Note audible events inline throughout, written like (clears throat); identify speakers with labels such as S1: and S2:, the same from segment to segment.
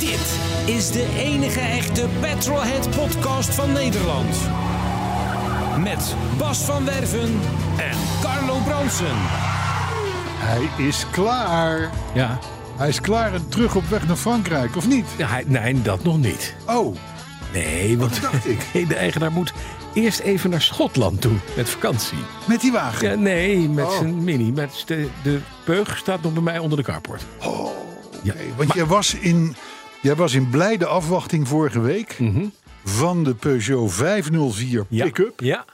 S1: Dit is de enige echte Petrolhead podcast van Nederland. Met Bas van Werven en Carlo Bronsen.
S2: Hij is klaar.
S3: Ja.
S2: Hij is klaar en terug op weg naar Frankrijk, of niet?
S3: Ja, hij- nee, dat nog niet.
S2: Oh,
S3: (laughs) Nee, want
S2: dat dacht ik.
S3: de eigenaar moet eerst even naar Schotland toe met vakantie.
S2: met die wagen.
S3: Ja, nee, met
S2: Oh.
S3: zijn mini. Met de, de peug staat nog bij mij onder de carport. ja,
S2: Oké, want jij, was in, jij was in blijde afwachting vorige week van de Peugeot 504
S3: Mhm. Ja.
S2: pick-up
S3: Ja.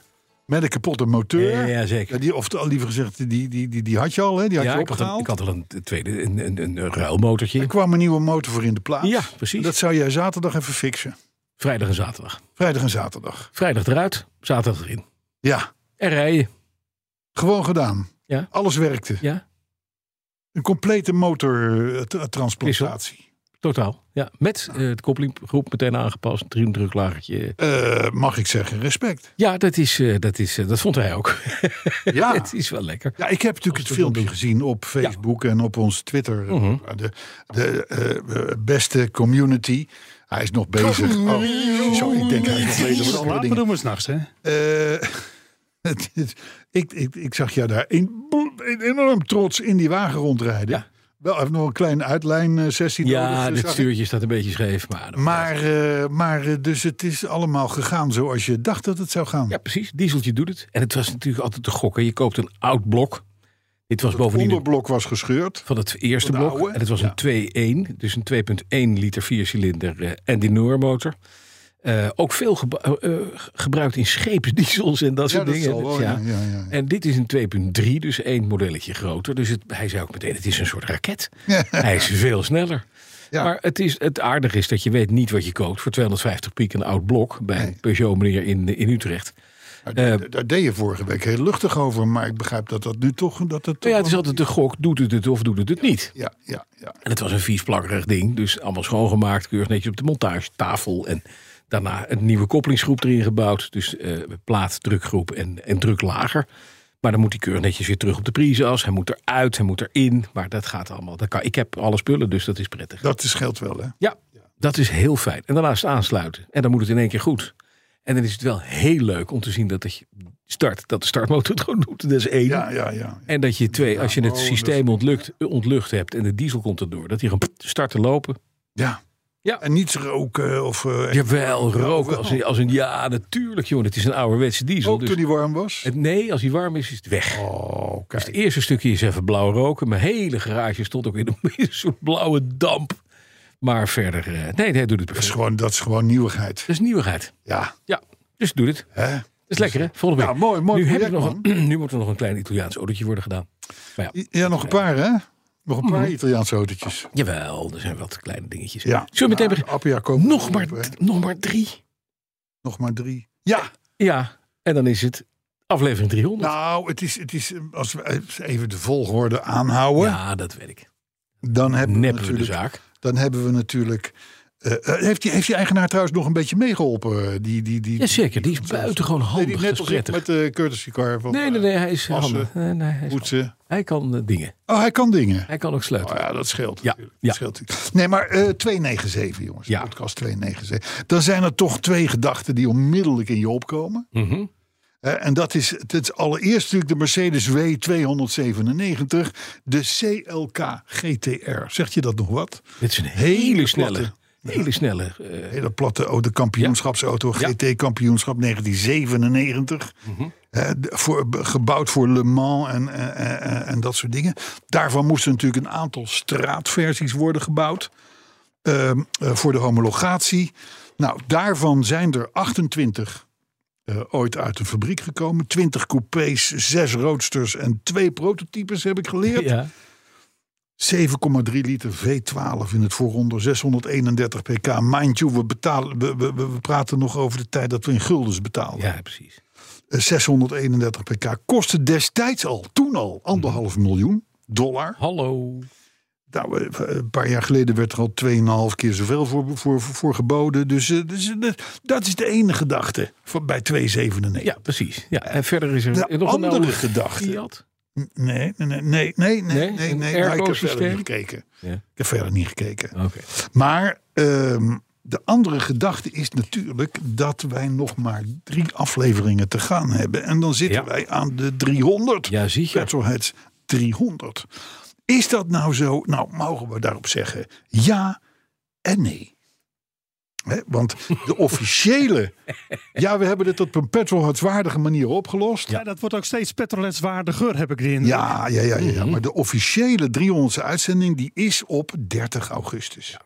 S2: met een kapotte moteur.
S3: Ja, ja, zeker.
S2: die, of te- liever gezegd, die, die, die, die had je al, hè? die had
S3: ja,
S2: je
S3: ik had, een,
S2: opgehaald.
S3: ik had al een tweede, een, een, een
S2: Er
S3: ruilmotortje.
S2: kwam een nieuwe motor voor in de plaats.
S3: Ja, precies.
S2: Dat zou jij zaterdag even fixen.
S3: Vrijdag en zaterdag.
S2: Vrijdag en zaterdag.
S3: Vrijdag eruit, zaterdag erin.
S2: Ja,
S3: En rijden.
S2: gewoon gedaan.
S3: Ja.
S2: Alles werkte.
S3: Ja,
S2: Een complete motortransplantatie.
S3: totaal. Ja, met eh het koppelinggroep meteen aangepast. Drie druklagertje.
S2: Eh, mag ik zeggen, respect.
S3: Ja, dat, is, eh, dat, is, eh, dat vond hij ook. (laughs)
S2: Ja.
S3: het is wel lekker.
S2: Ja, ik heb natuurlijk het filmpje gezien op Facebook en op ons Twitter.
S3: Mhm.
S2: De, de eh, beste community. Hij is nog bezig. Oh, zo, ik denk hij is nog bezig met andere dingen.
S4: we s'nachts, hè?
S2: Eh, (laughs) het is- ik, ik, ik zag jou daar een, een enorm trots in die wagen rondrijden.
S3: Ja.
S2: Wel, hij heeft nog een kleine uitlijn-sessie nodig.
S3: Ja,
S2: eh,
S3: dit
S2: zag ik.
S3: stuurtje staat een beetje scheef. Maar,
S2: Maar, eh, maar eh, dus het is allemaal gegaan zoals je dacht dat het zou gaan.
S3: Ja, precies. Dieseltje doet het. En het was natuurlijk altijd te gokken. Je koopt een oud blok. Dit was
S2: het
S3: bovendien een-
S2: onderblok was gescheurd.
S3: van het eerste
S2: Van de
S3: blok.
S2: oude.
S3: En het was
S2: Ja.
S3: een 2.1. Dus een 2.1 liter viercilinder eh, en die Noormotor. Eh, ook veel geba- eh, eh, gebruikt in scheepsdiesels en dat
S2: Ja,
S3: soort
S2: dat
S3: dingen. Dus
S2: zal wel, ja, ja, ja, ja.
S3: En dit is een 2.3, dus één modelletje groter. Dus het, hij zei ook meteen, het is een soort
S2: (laughs)
S3: raket. hij is veel sneller.
S2: Ja.
S3: Maar het, is, het aardige is dat je weet niet wat je koopt. Voor 250 piek een oud blok bij een Peugeot meneer in, in Utrecht.
S2: Nou,
S3: Eh,
S2: d- d- daar deed je vorige week heel luchtig over, maar ik begrijp dat dat nu toch. Dat het
S3: Maar
S2: toch
S3: ja, het is
S2: wel-
S3: altijd de gok, doet het het of doet het het niet.
S2: ja, ja, ja.
S3: En het was een vies plakkerig ding. Dus allemaal schoongemaakt, keurig netjes op de montagetafel. En daarna een nieuwe koppelingsgroep erin gebouwd. Dus eh, plaat, drukgroep en, en druk lager. Maar dan moet die keurig netjes weer terug op de priesas. Hij moet eruit, hij moet erin. Maar dat gaat allemaal. Dat kan, ik heb alle spullen, dus dat is prettig.
S2: Dat scheelt wel, hè?
S3: Ja, dat is heel fijn. En daarnaast aansluiten. En dan moet het in één keer goed. En dan is het wel heel leuk om te zien dat, het start, dat de startmotor het gewoon doet. Dat is één.
S2: Ja, ja, ja.
S3: En dat je twee, als je het
S2: oh,
S3: systeem ontlukt, eh, ontlucht hebt en de diesel komt erdoor, dat hij gewoon pff, start te lopen.
S2: ja.
S3: Ja.
S2: En niets roken of. eh,
S3: Jawel, roken
S2: wel.
S3: als een, als een ja, natuurlijk, jongen. Het is een ouderwetse diesel.
S2: ook
S3: Dus
S2: toen die warm was.
S3: het, nee, als hij warm is, is het weg.
S2: Oh,
S3: Dus het
S2: kijk.
S3: eerste stukje is even blauw roken. Mijn hele garage stond ook in een, (laughs) in een soort blauwe damp. Maar verder, eh, nee, nee, doet het
S2: Dat is
S3: perfect.
S2: gewoon, dat is gewoon nieuwigheid.
S3: Dat is nieuwigheid.
S2: Ja.
S3: Ja, dus doe het.
S2: Hè?
S3: Dat is lekker, hè? Volgende week.
S2: Ja, mooi, Dus, eh, nou, mooi
S3: nu, heb ik
S2: project,
S3: nog een, (clears throat) nu moet er nog een klein Italiaans autootje worden gedaan. Maar ja,
S2: Ja, nog een paar, hè? Nog een paar Italiaanse autootjes.
S3: jawel, er zijn wat kleine dingetjes.
S2: Ja.
S3: Mhm. Zullen we meteen beginnen?
S2: Appia komen.
S3: Nog maar,
S2: op, hè.
S3: nog maar drie.
S2: nog maar drie. Ja.
S3: Ja, en dan is het aflevering 300.
S2: Nou, het is, het is. eh, Als we even de volgorde aanhouden,
S3: ja, dus dat weet ik.
S2: dan hebben we
S3: Neppen we de
S2: natuurlijk
S3: zaak.
S2: dan hebben we natuurlijk. eh, eh, heeft, die, heeft die eigenaar trouwens nog een beetje meegeholpen? eh, Die, die, die,
S3: Jazeker, die is buitengewoon
S2: Nee,
S3: handig.
S2: die
S3: dat
S2: net
S3: is
S2: als ik
S3: prettig.
S2: met de courtesy car. Van, eh,
S3: nee, nee, nee, hij is
S2: Assen,
S3: handig. Nee, nee, hij,
S2: eh,
S3: is
S2: Poetsen.
S3: handig. hij kan eh, dingen.
S2: Oh, hij kan dingen.
S3: Hij kan ook
S2: Oh
S3: sleutelen.
S2: ja, dat scheelt.
S3: Ja,
S2: natuurlijk.
S3: ja.
S2: Dat scheelt natuurlijk. Nee, maar eh 297, jongens.
S3: Ja.
S2: Podcast 297. Dan zijn er toch twee gedachten die onmiddellijk in je opkomen.
S3: Mhm.
S2: Eh, en dat is, het is allereerst natuurlijk de Mercedes W297, de CLK GTR. Zegt je dat nog wat?
S3: Dit is een hele,
S2: Hele
S3: snelle.
S2: platte.
S3: Hele snelle. eh,
S2: Hele platte auto, kampioenschapsauto,
S3: Ja. Mhm.
S2: GT-kampioenschap 1997. Eh, de- voor, b- gebouwd voor Le Mans en, eh, eh, eh, en dat soort dingen. Daarvan moesten natuurlijk een aantal straatversies worden gebouwd. ehm, eh, voor de homologatie. Nou, daarvan zijn er 28 eh, ooit uit een fabriek gekomen. 20 coupés, 6 roadsters en twee prototypes heb ik geleerd.
S3: (laughs) Ja.
S2: 7,3 liter V12 in het vooronder, 631 pk. Mind you, we, betalen, we, we, we- we praten nog over de tijd dat we in guldens betaalden.
S3: ja, precies.
S2: Eh, 631 pk kostte destijds al, toen al, anderhalf miljoen dollar.
S3: Hallo.
S2: Nou, eh, een paar jaar geleden werd er al 2,5 keer zoveel voor, voor, voor, voor geboden. Dus, eh, dus, eh, dat is de ene gedachte voor, bij 2,97.
S3: Ja, precies. Ja, en verder is er
S2: De
S3: nog een
S2: andere
S3: oude
S2: gedachte.
S3: Fiat.
S2: Nee, nee, nee, nee, nee, nee, nee.
S3: een
S2: nee, Nou, ik heb verder
S3: airco-systeem?
S2: niet gekeken.
S3: Ja.
S2: Ik heb verder niet gekeken.
S3: Oké.
S2: Maar ehm, de andere gedachte is natuurlijk dat wij nog maar drie afleveringen te gaan hebben. En dan zitten
S3: Ja.
S2: wij aan de 300.
S3: Ja, zie je.
S2: Petrolheads 300. Is dat nou zo? Nou, mogen we daarop zeggen ja en nee. Hè, want
S3: (laughs)
S2: de officiële... ja, we hebben dit op een petrolheadswaardige manier opgelost.
S5: Ja, dat wordt ook steeds petroletswaardiger, heb ik Mhm. de indruk.
S2: Ja, ja, ja, ja, ja. maar de officiële 300ste uitzending die is op 30 augustus.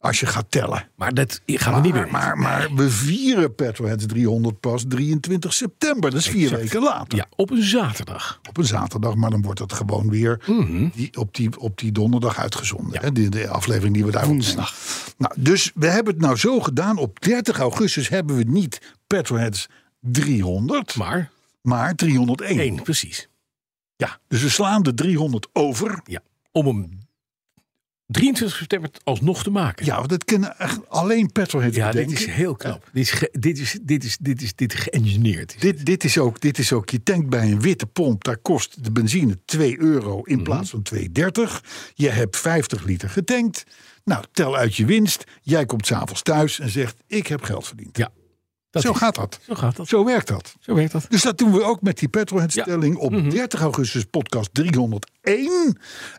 S2: Als je gaat tellen.
S3: Maar dat gaan we
S2: Maar,
S3: niet meer.
S2: maar, maar we vieren Petroheads 300 pas 23 september. Dat is vier
S3: Exact.
S2: weken later.
S3: ja, op een zaterdag.
S2: Op een zaterdag, maar dan wordt het gewoon weer
S3: Mhm.
S2: die, op, die, op die donderdag uitgezonden. Hè? De, de aflevering die we daar Woensdag. Nou, dus we hebben het nou zo gedaan. Op 30 augustus hebben we niet Petroheads 300, maar,
S3: Maar
S2: 301.
S3: één, precies.
S2: Ja, dus we slaan de 300 over.
S3: Ja. Om hem 23 september alsnog te maken.
S2: Ja, want dat kunnen echt alleen petrolheads
S3: Ja, dit
S2: bedenken.
S3: is heel knap. Dit is, ge- dit is, dit is, dit is, dit is geëngineerd.
S2: Dit, dit, is ook, dit is ook, je tankt bij een witte pomp, daar kost de benzine 2 euro
S3: Mhm.
S2: in plaats van 2,30. Je hebt 50 liter getankt. Nou, tel uit je winst. Jij komt s'avonds thuis en zegt, ik heb geld verdiend.
S3: Ja, dat
S2: Zo
S3: is-
S2: gaat dat.
S3: Zo gaat dat.
S2: Zo werkt dat.
S3: Zo werkt dat.
S2: Dus dat doen we ook met die petrolheadstelling op
S3: Mhm.
S2: 30 augustus podcast 301.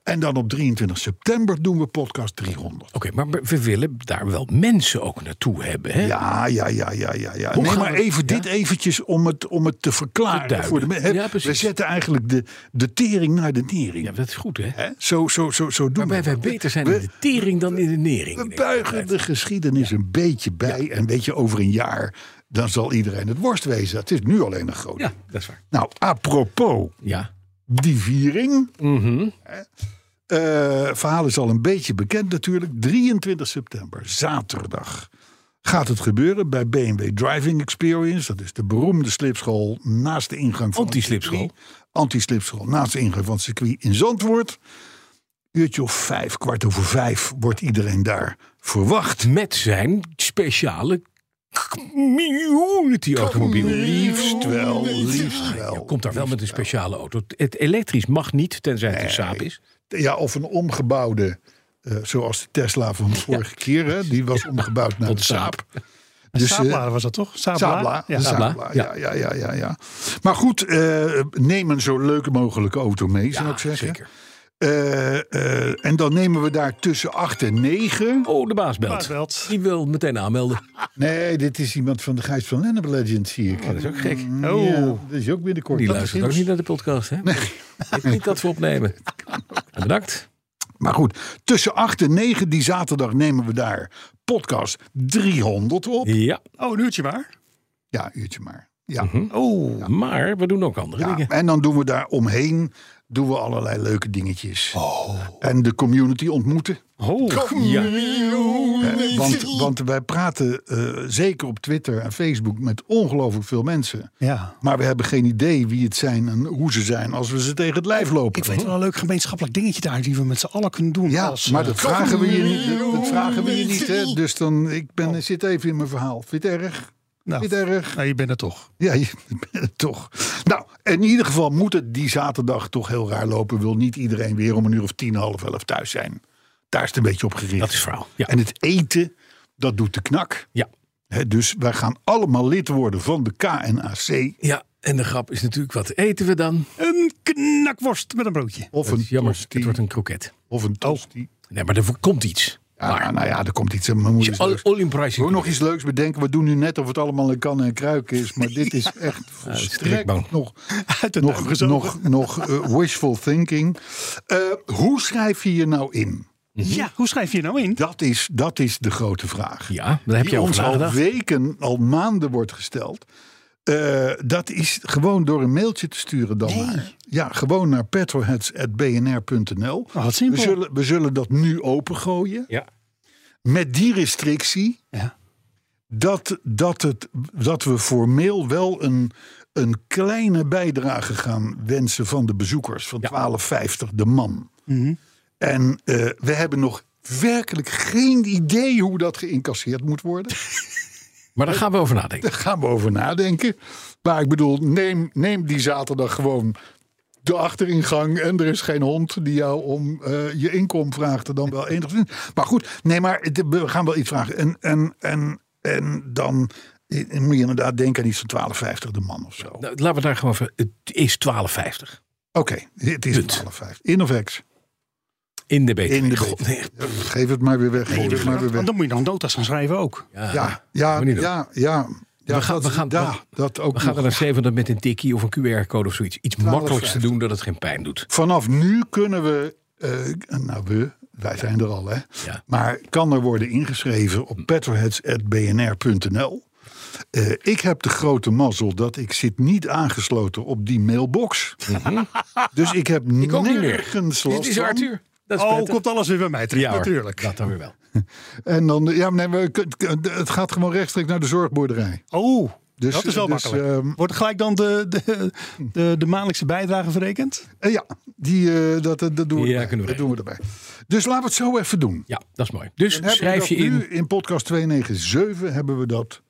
S2: En dan op 23 september doen we podcast 300.
S3: Oké, maar we willen daar wel mensen ook naartoe hebben. Hè?
S2: Ja, ja, ja, ja, ja. ja.
S3: Hoe
S2: Nee,
S3: gaan
S2: maar
S3: we-
S2: even
S3: ja?
S2: dit eventjes om het, om het te
S3: Te
S2: verklaren.
S3: duiden.
S2: voor de, men- hè,
S3: Ja, precies.
S2: we zetten eigenlijk de, de tering naar de nering.
S3: Ja, dat is goed, hè?
S2: Hè? Zo, zo, zo, zo doen
S3: Waarbij
S2: we
S3: wij
S2: dat.
S3: beter zijn
S2: We-
S3: in de tering dan in de nering.
S2: We
S3: denk ik
S2: buigen
S3: altijd.
S2: de geschiedenis een beetje bij. En weet je, over een jaar, dan zal iedereen het worst wezen. Het is nu alleen een groot.
S3: Ja, dat is waar.
S2: Nou, apropos
S3: Ja.
S2: die viering.
S3: Mhm.
S2: Eh, verhaal is al een beetje bekend natuurlijk. 23 september, zaterdag, gaat het gebeuren bij BMW Driving Experience. Dat is de beroemde slipschool naast de ingang van... het
S3: Anti-slipschool.
S2: circuit. Anti-slipschool naast de ingang van het circuit in Zandvoort. Uurtje of vijf, kwart over vijf, wordt iedereen daar verwacht.
S3: Met zijn speciale community automobiel.
S2: Liefst wel, liefst wel.
S3: Komt daar wel met een speciale auto. Het elektrisch mag niet, tenzij het een saap is.
S2: Ja, of een omgebouwde, eh, zoals de Tesla van de vorige keer. Hè, die was omgebouwd naar
S3: Tot
S2: de
S3: Saab.
S2: Saab.
S5: Een
S2: Dus, eh,
S5: Sabla was dat toch? Sabla.
S2: Sabla.
S5: Ja.
S2: de
S3: Sabla,
S2: Sabla,
S3: ja.
S2: Ja. Ja, ja, ja, ja. Maar goed, eh, neem een zo leuke mogelijke auto mee, zou
S3: Ja,
S2: ik zeggen.
S3: zeker.
S2: Eh, eh, en dan nemen we daar tussen 8 en 9.
S3: Oh, de baas
S5: Baas
S3: belt.
S5: belt.
S3: Die wil meteen aanmelden.
S2: Nee, dit is iemand van de Gijs van Lennep Legend, zie ik.
S3: dat is ook gek.
S2: Oh, ja, dat is ook binnenkort.
S3: Die
S2: Dat
S3: luistert
S2: is-
S3: ook niet naar de podcast, hè? Ik denk niet dat we opnemen. Bedankt.
S2: (laughs) Maar goed, tussen 8 en 9 die zaterdag nemen we daar podcast 300 op.
S3: Ja,
S5: Oh, een uurtje maar.
S2: Ja, uurtje maar. Ja.
S5: Oh,
S3: maar we doen ook andere
S2: Ja,
S3: dingen.
S2: en dan doen we daar omheen doen we allerlei leuke dingetjes.
S5: Oh.
S2: En de community ontmoeten.
S3: Ja,
S2: Eh, Want, want wij praten eh, zeker op Twitter en Facebook met ongelooflijk veel mensen.
S5: ja.
S2: Maar we hebben geen idee wie het zijn en hoe ze zijn als we ze tegen het lijf lopen.
S5: Ik weet wel een leuk gemeenschappelijk dingetje daar die we met z'n allen kunnen doen.
S2: ja,
S5: Als,
S2: maar
S5: eh,
S2: dat vragen we je niet. Dat, dat vragen we je niet hè? Dus dan, ik
S5: Oh.
S2: ben, zit even in mijn verhaal. Vind je het erg?
S5: nou,
S2: Vind je het erg?
S5: nou, je bent er toch.
S2: Ja, je bent het toch. Nou, in ieder geval moet het die zaterdag toch heel raar lopen. Wil niet iedereen weer om een uur of tien, half elf thuis zijn. Daar is het een beetje op gericht.
S3: dat is verhaal. Ja,
S2: En het eten, dat doet de knak.
S3: ja.
S2: Hè, dus wij gaan allemaal lid worden van de KNAC.
S3: ja. En de grap is natuurlijk, wat eten we dan?
S5: Een knakworst met een broodje. (laughs)
S2: Of
S3: Dat
S2: een
S3: is jammer, het
S2: tosti.
S3: wordt een Oh. kroket.
S2: Of een tosti.
S3: Nee, maar er komt iets.
S2: Ja, nou ja, er komt iets. Mijn moeder Dus is
S3: All,
S2: leuks.
S3: all in pricing.
S2: Wil nog iets leuks bedenken? We doen nu net of het allemaal een kan en kruik is.
S3: (laughs)
S2: Maar dit is echt volstrekt
S3: strikbang.
S2: nog,
S5: Uit de duim
S2: nog,
S5: gezogen.
S2: nog, nog eh, wishful thinking. Eh, hoe schrijf je je nou in?
S5: Ja, hoe schrijf je je nou in?
S2: Dat is, dat is de grote vraag.
S3: Ja, daar heb
S2: die
S3: je over
S2: ons al
S3: nagedacht.
S2: weken, al maanden wordt gesteld. Eh, dat is gewoon door een mailtje te sturen dan maar. Ja, gewoon naar petroheads.bnr.nl.
S5: Oh, wat
S2: we,
S5: simpel.
S2: zullen, we zullen dat nu opengooien.
S3: Ja.
S2: Met die restrictie
S5: Ja.
S2: dat, dat, het, dat we formeel wel een, een kleine bijdrage gaan wensen van de bezoekers. Van 12,50 de man. En eh, we hebben nog werkelijk geen idee hoe dat geïncasseerd moet worden.
S3: Maar daar gaan we over
S2: (laughs)
S3: nadenken.
S2: Daar gaan we over nadenken. Maar ik bedoel, neem, neem die zaterdag gewoon de achteringang. En er is geen hond die jou om eh, je inkom vraagt. er Dan wel enigszins. Maar goed, nee, maar het- we gaan wel iets vragen. En, en, en, en dan eh, moet je inderdaad denken aan iets van 12,50 de man of zo. Oké,
S3: Nou, laten we daar gewoon van. Het is 12,50
S2: het is
S3: Punt.
S2: 12,50. In of ex?
S3: in de BTW.
S2: In de
S3: God, nee.
S2: Geef het maar weer weg. Geef het maar weer weg.
S5: Want dan moet je nog notas gaan schrijven ook.
S3: Ja.
S2: Ja, ja,
S3: Moet niet
S2: ja,
S3: doen.
S2: ja. ja.
S3: We gaan-
S2: dat,
S3: we gaan-
S2: ja,
S3: we-
S2: dat ook
S3: We gaan
S2: nog.
S3: er een 700 met een tikkie of een QR-code of zoiets. Iets makkelijks te doen dat het geen pijn doet.
S2: vanaf nu kunnen we, eh, nou we, wij zijn er al hè,
S3: Ja.
S2: maar kan er worden ingeschreven op petroheads.bnr.nl. Eh, ik heb de grote mazzel dat ik zit niet aangesloten op die
S3: (laughs)
S2: mailbox. dus ik heb
S3: Ik ook niet meer.
S2: nergens
S3: Dit
S2: last
S3: is
S2: van.
S3: Arthur. Dat is
S5: Oh,
S3: prettig.
S5: komt alles weer bij mij terug.
S3: Ja hoor,
S5: natuurlijk.
S3: Dat dan weer wel.
S2: En dan, ja, nee, maar het- het gaat gewoon rechtstreeks naar de zorgboerderij.
S5: Oh,
S2: Dus-
S5: dat is wel
S2: dus,
S5: makkelijk.
S2: ehm,
S5: Wordt gelijk dan de, de, de, de maandelijkse bijdrage verrekend?
S2: Eh, ja, die, eh, dat, dat, dat doen we
S3: Ja,
S2: erbij.
S3: kunnen we
S2: dat doen we erbij. Dus laten we het zo even doen.
S3: Ja, dat is mooi. Dus
S2: Dan hebben we
S3: schrijf
S2: dat
S3: je in,
S2: Nu Oh, in podcast 297 hebben we dat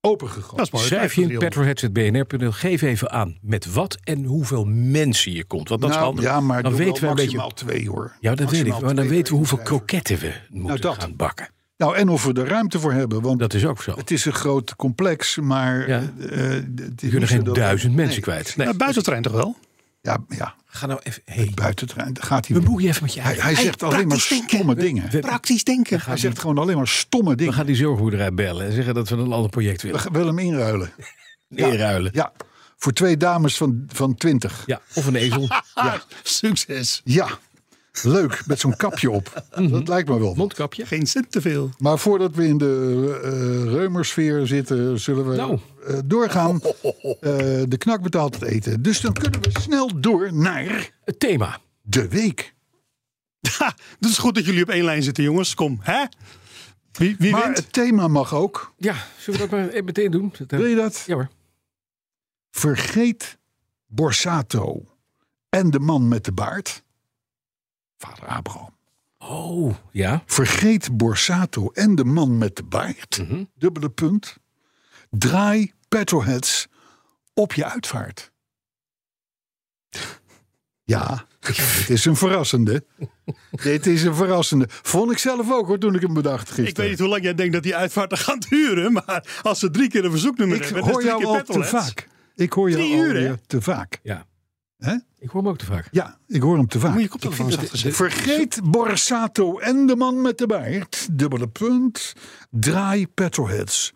S2: opengegooid.
S5: Dat is mooi.
S3: schrijf je in petroheads.bnr.nl. Geef even aan met wat en hoeveel mensen je komt. Want dat is
S2: Nou,
S3: handig.
S2: Ja, maar
S3: dan
S2: doe
S3: weten we
S2: wel
S3: een beetje.
S2: maximaal twee hoor.
S3: Ja, dat weet ik.
S2: Maximaal
S3: Maar dan
S2: twee
S3: weten we hoeveel
S2: schrijvers.
S3: kroketten we moeten
S2: dat.
S3: gaan bakken.
S2: Nou, en of we er ruimte voor hebben. Want
S3: Dat is ook zo.
S2: het is een groot complex, maar...
S3: Ja.
S2: eh, eh, d- het is
S3: Je
S2: niet
S3: kunt er
S2: zo
S3: geen
S2: dat we-
S3: duizend mensen
S2: Nee.
S3: kwijt.
S5: Nou,
S3: Nee.
S5: buitentrein toch wel?
S2: Ja, ja
S3: Ga nou even. Hey,
S2: buitentrein. Daar gaat hij weer.
S3: bemoei je even met je
S2: Hij,
S3: eigen.
S2: hij zegt alleen maar
S5: praktisch denken.
S2: stomme dingen.
S3: We-
S5: Praktisch denken.
S2: Hij zegt gewoon alleen maar stomme
S3: We
S2: dingen.
S3: gaan die zorgboerderij bellen en zeggen dat we een ander project
S2: We
S3: willen.
S2: gaan- willen hem
S3: (laughs)
S2: inruilen.
S3: Neerruilen.
S2: Ja, voor twee dames van, van 20.
S3: Ja, of een
S2: (laughs)
S3: ezel.
S5: (laughs) Succes.
S2: Ja, leuk, met zo'n kapje op.
S3: Mhm.
S2: Dat lijkt me wel.
S3: Mondkapje.
S5: Geen cent te veel.
S2: Maar voordat we in de eh reumersfeer zitten, zullen we
S3: Nou.
S2: eh, doorgaan. Eh, de knak betaalt het eten. Dus dan kunnen we snel door naar
S3: Het thema.
S2: de week.
S5: Ha, dat is goed dat jullie op één lijn zitten, jongens. Kom, hè? Wie, wie
S2: Maar
S5: wint?
S2: het thema mag ook.
S3: Ja, zullen we dat maar even meteen doen? Dat, eh,
S2: Wil je dat?
S3: Ja hoor.
S2: Vergeet Borsato en de man met de baard. Vader Abraham.
S3: Oh, ja.
S2: Vergeet Borsato en de man met de baard.
S3: Mhm.
S2: Dubbele punt. Draai petrolheads op je uitvaart. Ja, dit is een verrassende. dit is een verrassende. Vond ik zelf ook hoor, toen ik hem bedacht gisteren.
S5: Ik weet niet hoe lang jij denkt dat die uitvaarten gaan duren. Maar als ze drie keer een verzoeknummer
S2: Ik
S5: hebben, dan is
S2: hoor
S5: drie
S2: jou
S5: keer
S2: al te
S5: petrolheads.
S2: vaak. Ik hoor jou
S5: Drie uur,
S2: alweer
S5: hè?
S2: te vaak.
S3: ja.
S2: Hè?
S3: Ik hoor hem ook te vaak.
S2: Ja, ik hoor hem te vaak.
S5: Moet je koptelefoons
S3: Ik vind dat-
S5: afzetten.
S2: Vergeet Borsato en de man met de baard. Dubbele punt. Draai petrolheads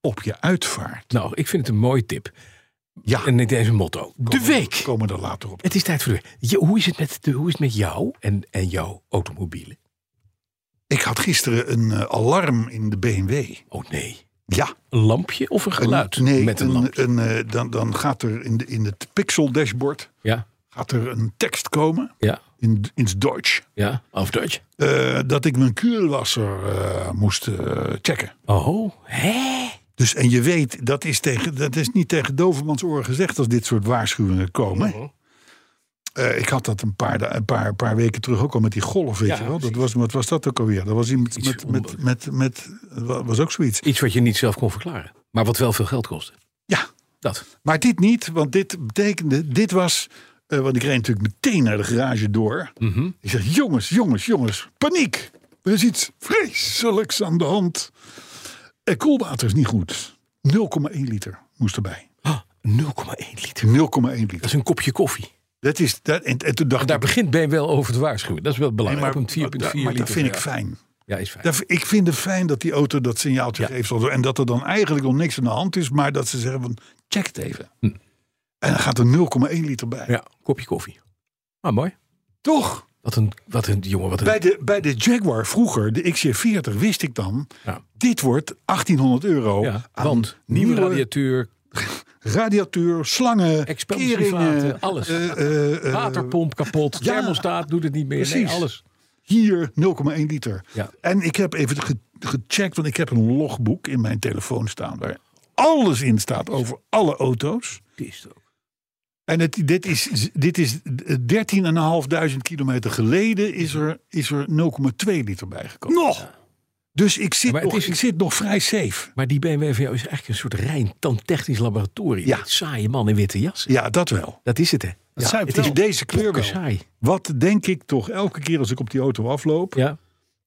S2: op je uitvaart.
S3: Nou, ik vind het een mooie tip.
S2: Ja.
S3: En ik deze motto. De
S2: We
S3: week.
S2: komen er later op.
S3: Het is tijd voor de week. Je- hoe, is het met de, hoe is het met jou en, en jouw automobielen?
S2: Ik had gisteren een eh, alarm in de BMW.
S3: Oh nee.
S2: Ja,
S3: Een lampje of een geluid?
S2: nee,
S3: met een, lampje.
S2: een, eh, dan, dan gaat er in, de, in het pixel dashboard
S3: Ja,
S2: gaat er een tekst komen
S3: ja,
S2: in, in het Duits.
S3: ja. Of Dutch.
S2: eh, dat ik mijn kuurwasser eh, moest eh, checken.
S3: Oh, hè?
S2: Dus en je weet, dat is, tegen, dat is niet tegen Dovermans oren gezegd als dit soort waarschuwingen komen.
S3: Mhm.
S2: Eh, ik had dat een paar, da- een, paar, een paar weken terug ook al met die golf, weet
S3: Ja,
S2: je wel. Dat was, wat was dat ook alweer? Dat was iemand
S3: Iets
S2: met, met, met, met, met, was ook zoiets.
S3: Iets wat je niet zelf kon verklaren. Maar wat wel veel geld kostte.
S2: Ja,
S3: Dat.
S2: Maar dit niet, want dit betekende, dit was, eh, want ik reed natuurlijk meteen naar de garage door.
S3: Mhm.
S2: Ik zeg, jongens, jongens, jongens, paniek. Er is iets vreselijks aan de hand. En koelwater is niet goed. 0,1 liter moest erbij.
S3: Ah, 0,1 liter.
S2: 0,1 liter.
S3: Dat is een kopje koffie.
S2: Dat is, dat, en, en toen dacht
S3: Daar
S2: ik,
S3: begint Ben wel over te waarschuwen. Dat is wel
S2: nee,
S3: belangrijk.
S2: maar,
S3: Op een 4,4
S2: maar,
S3: liter.
S2: dat vind ik
S3: ja.
S2: fijn.
S3: Ja, is fijn.
S2: Dat, ik vind het fijn dat die auto dat signaal te geeft. En dat er dan eigenlijk nog niks aan de hand is. Maar dat ze zeggen van, check het even. En dan gaat er 0,1 liter bij.
S3: Hm. Ja, kopje koffie. Ah, mooi.
S2: Toch?
S3: Wat een, wat een jongen, wat een...
S2: Bij de, bij de Jaguar vroeger, de XJ40, wist ik dan...
S3: Ja.
S2: dit wordt 1800 euro
S3: ja,
S2: Oh, aan
S3: want nieuwe, radiatuur,
S2: Radiatuur, slangen,
S3: Expelsievaten,
S2: keringen.
S3: alles.
S2: eh, eh, eh,
S3: Waterpomp kapot,
S2: ja,
S3: thermostaat doet het niet meer. Nee,
S2: precies.
S3: alles.
S2: hier 0,1 liter.
S3: Ja.
S2: En ik heb even ge- gecheckt, want ik heb een logboek in mijn telefoon staan waar alles in staat over alle auto's.
S3: Pist ook.
S2: En het, dit is, dit is 13.500 kilometer geleden is er, is er 0,2 liter bijgekomen.
S5: Nog!
S2: Dus ik
S3: Ja,
S2: zit,
S3: maar het
S2: nog,
S3: is-
S2: ik zit nog vrij safe.
S3: Maar die BMW van jou is eigenlijk een soort rein tandtechnisch laboratorium.
S2: Ja.
S3: Met saaie man in witte jas.
S2: Ja, dat wel.
S3: Dat is het, hè?
S2: Ja,
S5: zei ik
S2: het is
S5: wel.
S2: deze kleur
S3: Pokken
S2: wel.
S3: saai.
S2: Wat denk ik toch elke keer als ik op die auto afloop.
S3: Ja,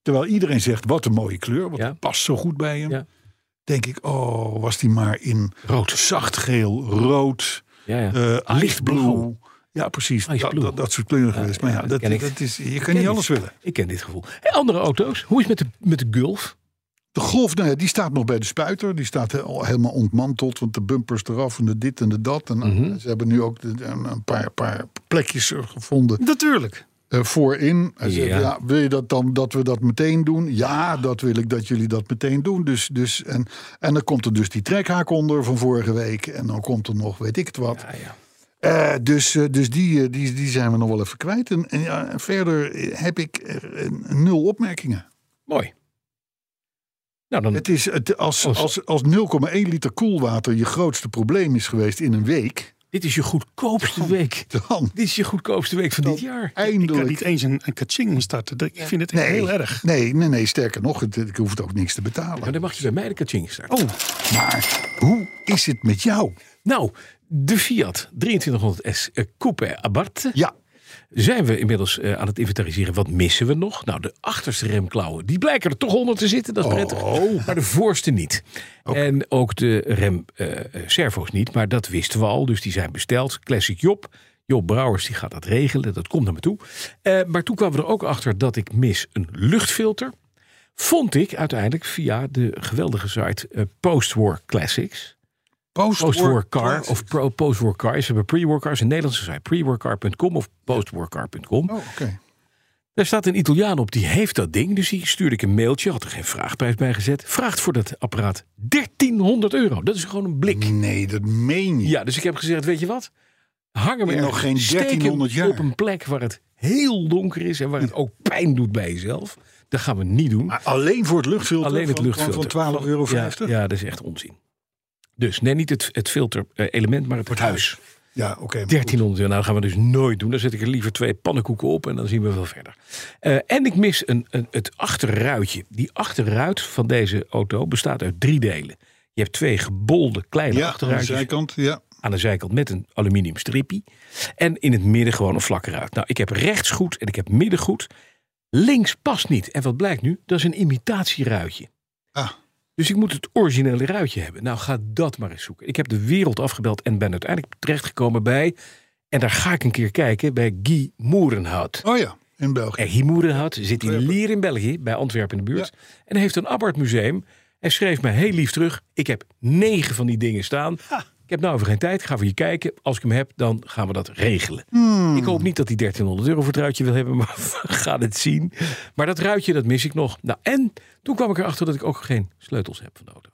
S2: Terwijl iedereen zegt, wat een mooie kleur. Wat
S3: Ja.
S2: past zo goed bij hem.
S3: Ja.
S2: Denk ik, oh, was die maar in
S3: rood.
S2: zacht geel, rood,
S3: Ja, ja.
S2: eh,
S3: Ice blue.
S2: lichtblauw. Ah, Ja, precies.
S3: Ice
S2: Dat,
S3: blue.
S2: dat, dat soort kleuren geweest. Maar ja,
S3: dat
S2: dat,
S3: ken ik.
S2: dat is, je kan niet
S3: ik.
S2: alles willen.
S3: Ik ken dit gevoel. Hey, andere auto's. Hoe is het met de, met de Gulf?
S2: De Golf, nou ja, die staat nog bij de spuiter. Die staat he- al helemaal ontmanteld, want de bumpers eraf en de dit en de dat. En eh, ze hebben nu ook de- de- een een paar, paar plekjes eh, gevonden
S5: Natuurlijk.
S2: eh, voorin. Hij zegt,
S3: Ja.
S2: ja, wil je dat dan dat we dat meteen doen? Ja, dat wil ik dat jullie dat meteen doen. Dus, dus, en, en dan komt er dus die trekhaak onder van vorige week. En dan komt er nog weet ik het wat.
S3: Ah, ja.
S2: Eh, dus eh, dus die, eh, die, die zijn we nog wel even kwijt. En, en ja, en verder eh, heb ik eh, eh, nul opmerkingen.
S3: Mooi. Nou, dan...
S2: Het is, het, als,
S3: Als-
S2: als, als 0,1 liter koelwater je grootste probleem is geweest in een week,
S3: Dit is je
S2: Oh.
S3: goedkoopste week.
S2: dan
S3: Dit is je goedkoopste week van dit jaar.
S5: Ik kan
S2: eindelijk.
S5: niet eens een, een kaching starten. Dat- Ik vind het echt
S2: Nee,
S5: heel erg.
S2: Nee, nee, nee, sterker nog, het, ik hoef het ook niks te
S3: Maar
S2: betalen.
S3: Nou, dan mag je bij mij de kaching starten.
S2: Oh, maar hoe is het met jou?
S3: Nou, de Fiat 2300S eh, Coupe Abarth.
S2: Ja,
S3: Zijn we inmiddels eh, aan het inventariseren. Wat missen we nog? Nou, de achterste remklauwen. Die blijken er toch onder te zitten. Dat is prettig. Maar de voorste niet. En Oh. ook de rem eh, eh, servo's niet. Maar dat wisten we al. Dus die zijn besteld. Classic Job. Job Brouwers die gaat dat regelen. Dat komt naar me toe. Eh, maar toen kwamen we er ook achter dat ik mis een luchtfilter. Vond ik uiteindelijk via de geweldige site eh, Postwar Classics. Postwar Car of pro- Postwar Car. Ze hebben pre-war cars. In Nederland ze zijn pre-warcar.com of postwarcar.com.
S2: Oh, oké.
S3: Daar staat een Italiaan op, die heeft dat ding. Dus die stuurde ik een mailtje, had er geen vraagprijs bij gezet. Vraagt voor dat apparaat 1300 euro. Dat is gewoon een blik.
S2: Nee, dat meen je.
S3: Ja, dus ik heb gezegd, weet je wat? Hang hem
S2: In nog
S3: ergens.
S2: geen
S3: Steek hem
S2: 1300 jaar. Mm.
S3: op een plek waar het heel donker is... en waar het ook pijn doet bij jezelf. Dat gaan we niet doen.
S2: Maar alleen voor het luchtfilter?
S3: Alleen het
S2: van- van-
S3: luchtfilter.
S2: Van 12,50 euro?
S3: Ja, ja, dat is echt onzin. Dus nee, niet het, het filter-element, maar het, huis.
S2: Ja, oké. maar goed.
S3: 1300 euro. Nou, dat gaan we dus nooit doen. Dan zet ik er liever twee pannenkoeken op en dan zien we wel verder. Eh, en ik mis een, een, het achterruitje. Die achterruit van deze auto bestaat uit drie delen. Je hebt twee gebolde kleine
S2: Ja, aan de
S3: achterruitjes
S2: zijkant. Ja.
S3: aan de zijkant met een aluminium stripje. En in het midden gewoon een vlakke ruit. Nou, ik heb rechts goed en ik heb midden goed. Links past niet. En wat blijkt nu? Dat is een imitatieruitje.
S2: Ah.
S3: Dus ik moet het originele ruitje hebben. Nou, ga dat maar eens zoeken. Ik heb de wereld afgebeld en ben uiteindelijk terechtgekomen bij... en daar ga ik een keer kijken, bij Guy Moerenhout.
S2: Oh ja, in België.
S3: En Guy Moerenhout zit in Lier in België, bij Antwerpen in de buurt. En hij heeft een Abarth museum. En schreef mij heel lief terug. Ik heb negen van die dingen staan. Ik heb nou even geen tijd. Ga voor je kijken. Als ik hem heb, dan gaan we dat regelen.
S2: Hmm.
S3: Ik hoop niet dat hij 1300 euro voor het ruitje wil hebben. (laughs) Maar we gaan het zien. Maar dat ruitje, dat mis ik nog. Nou, en toen kwam ik erachter dat ik ook geen sleutels heb van de auto.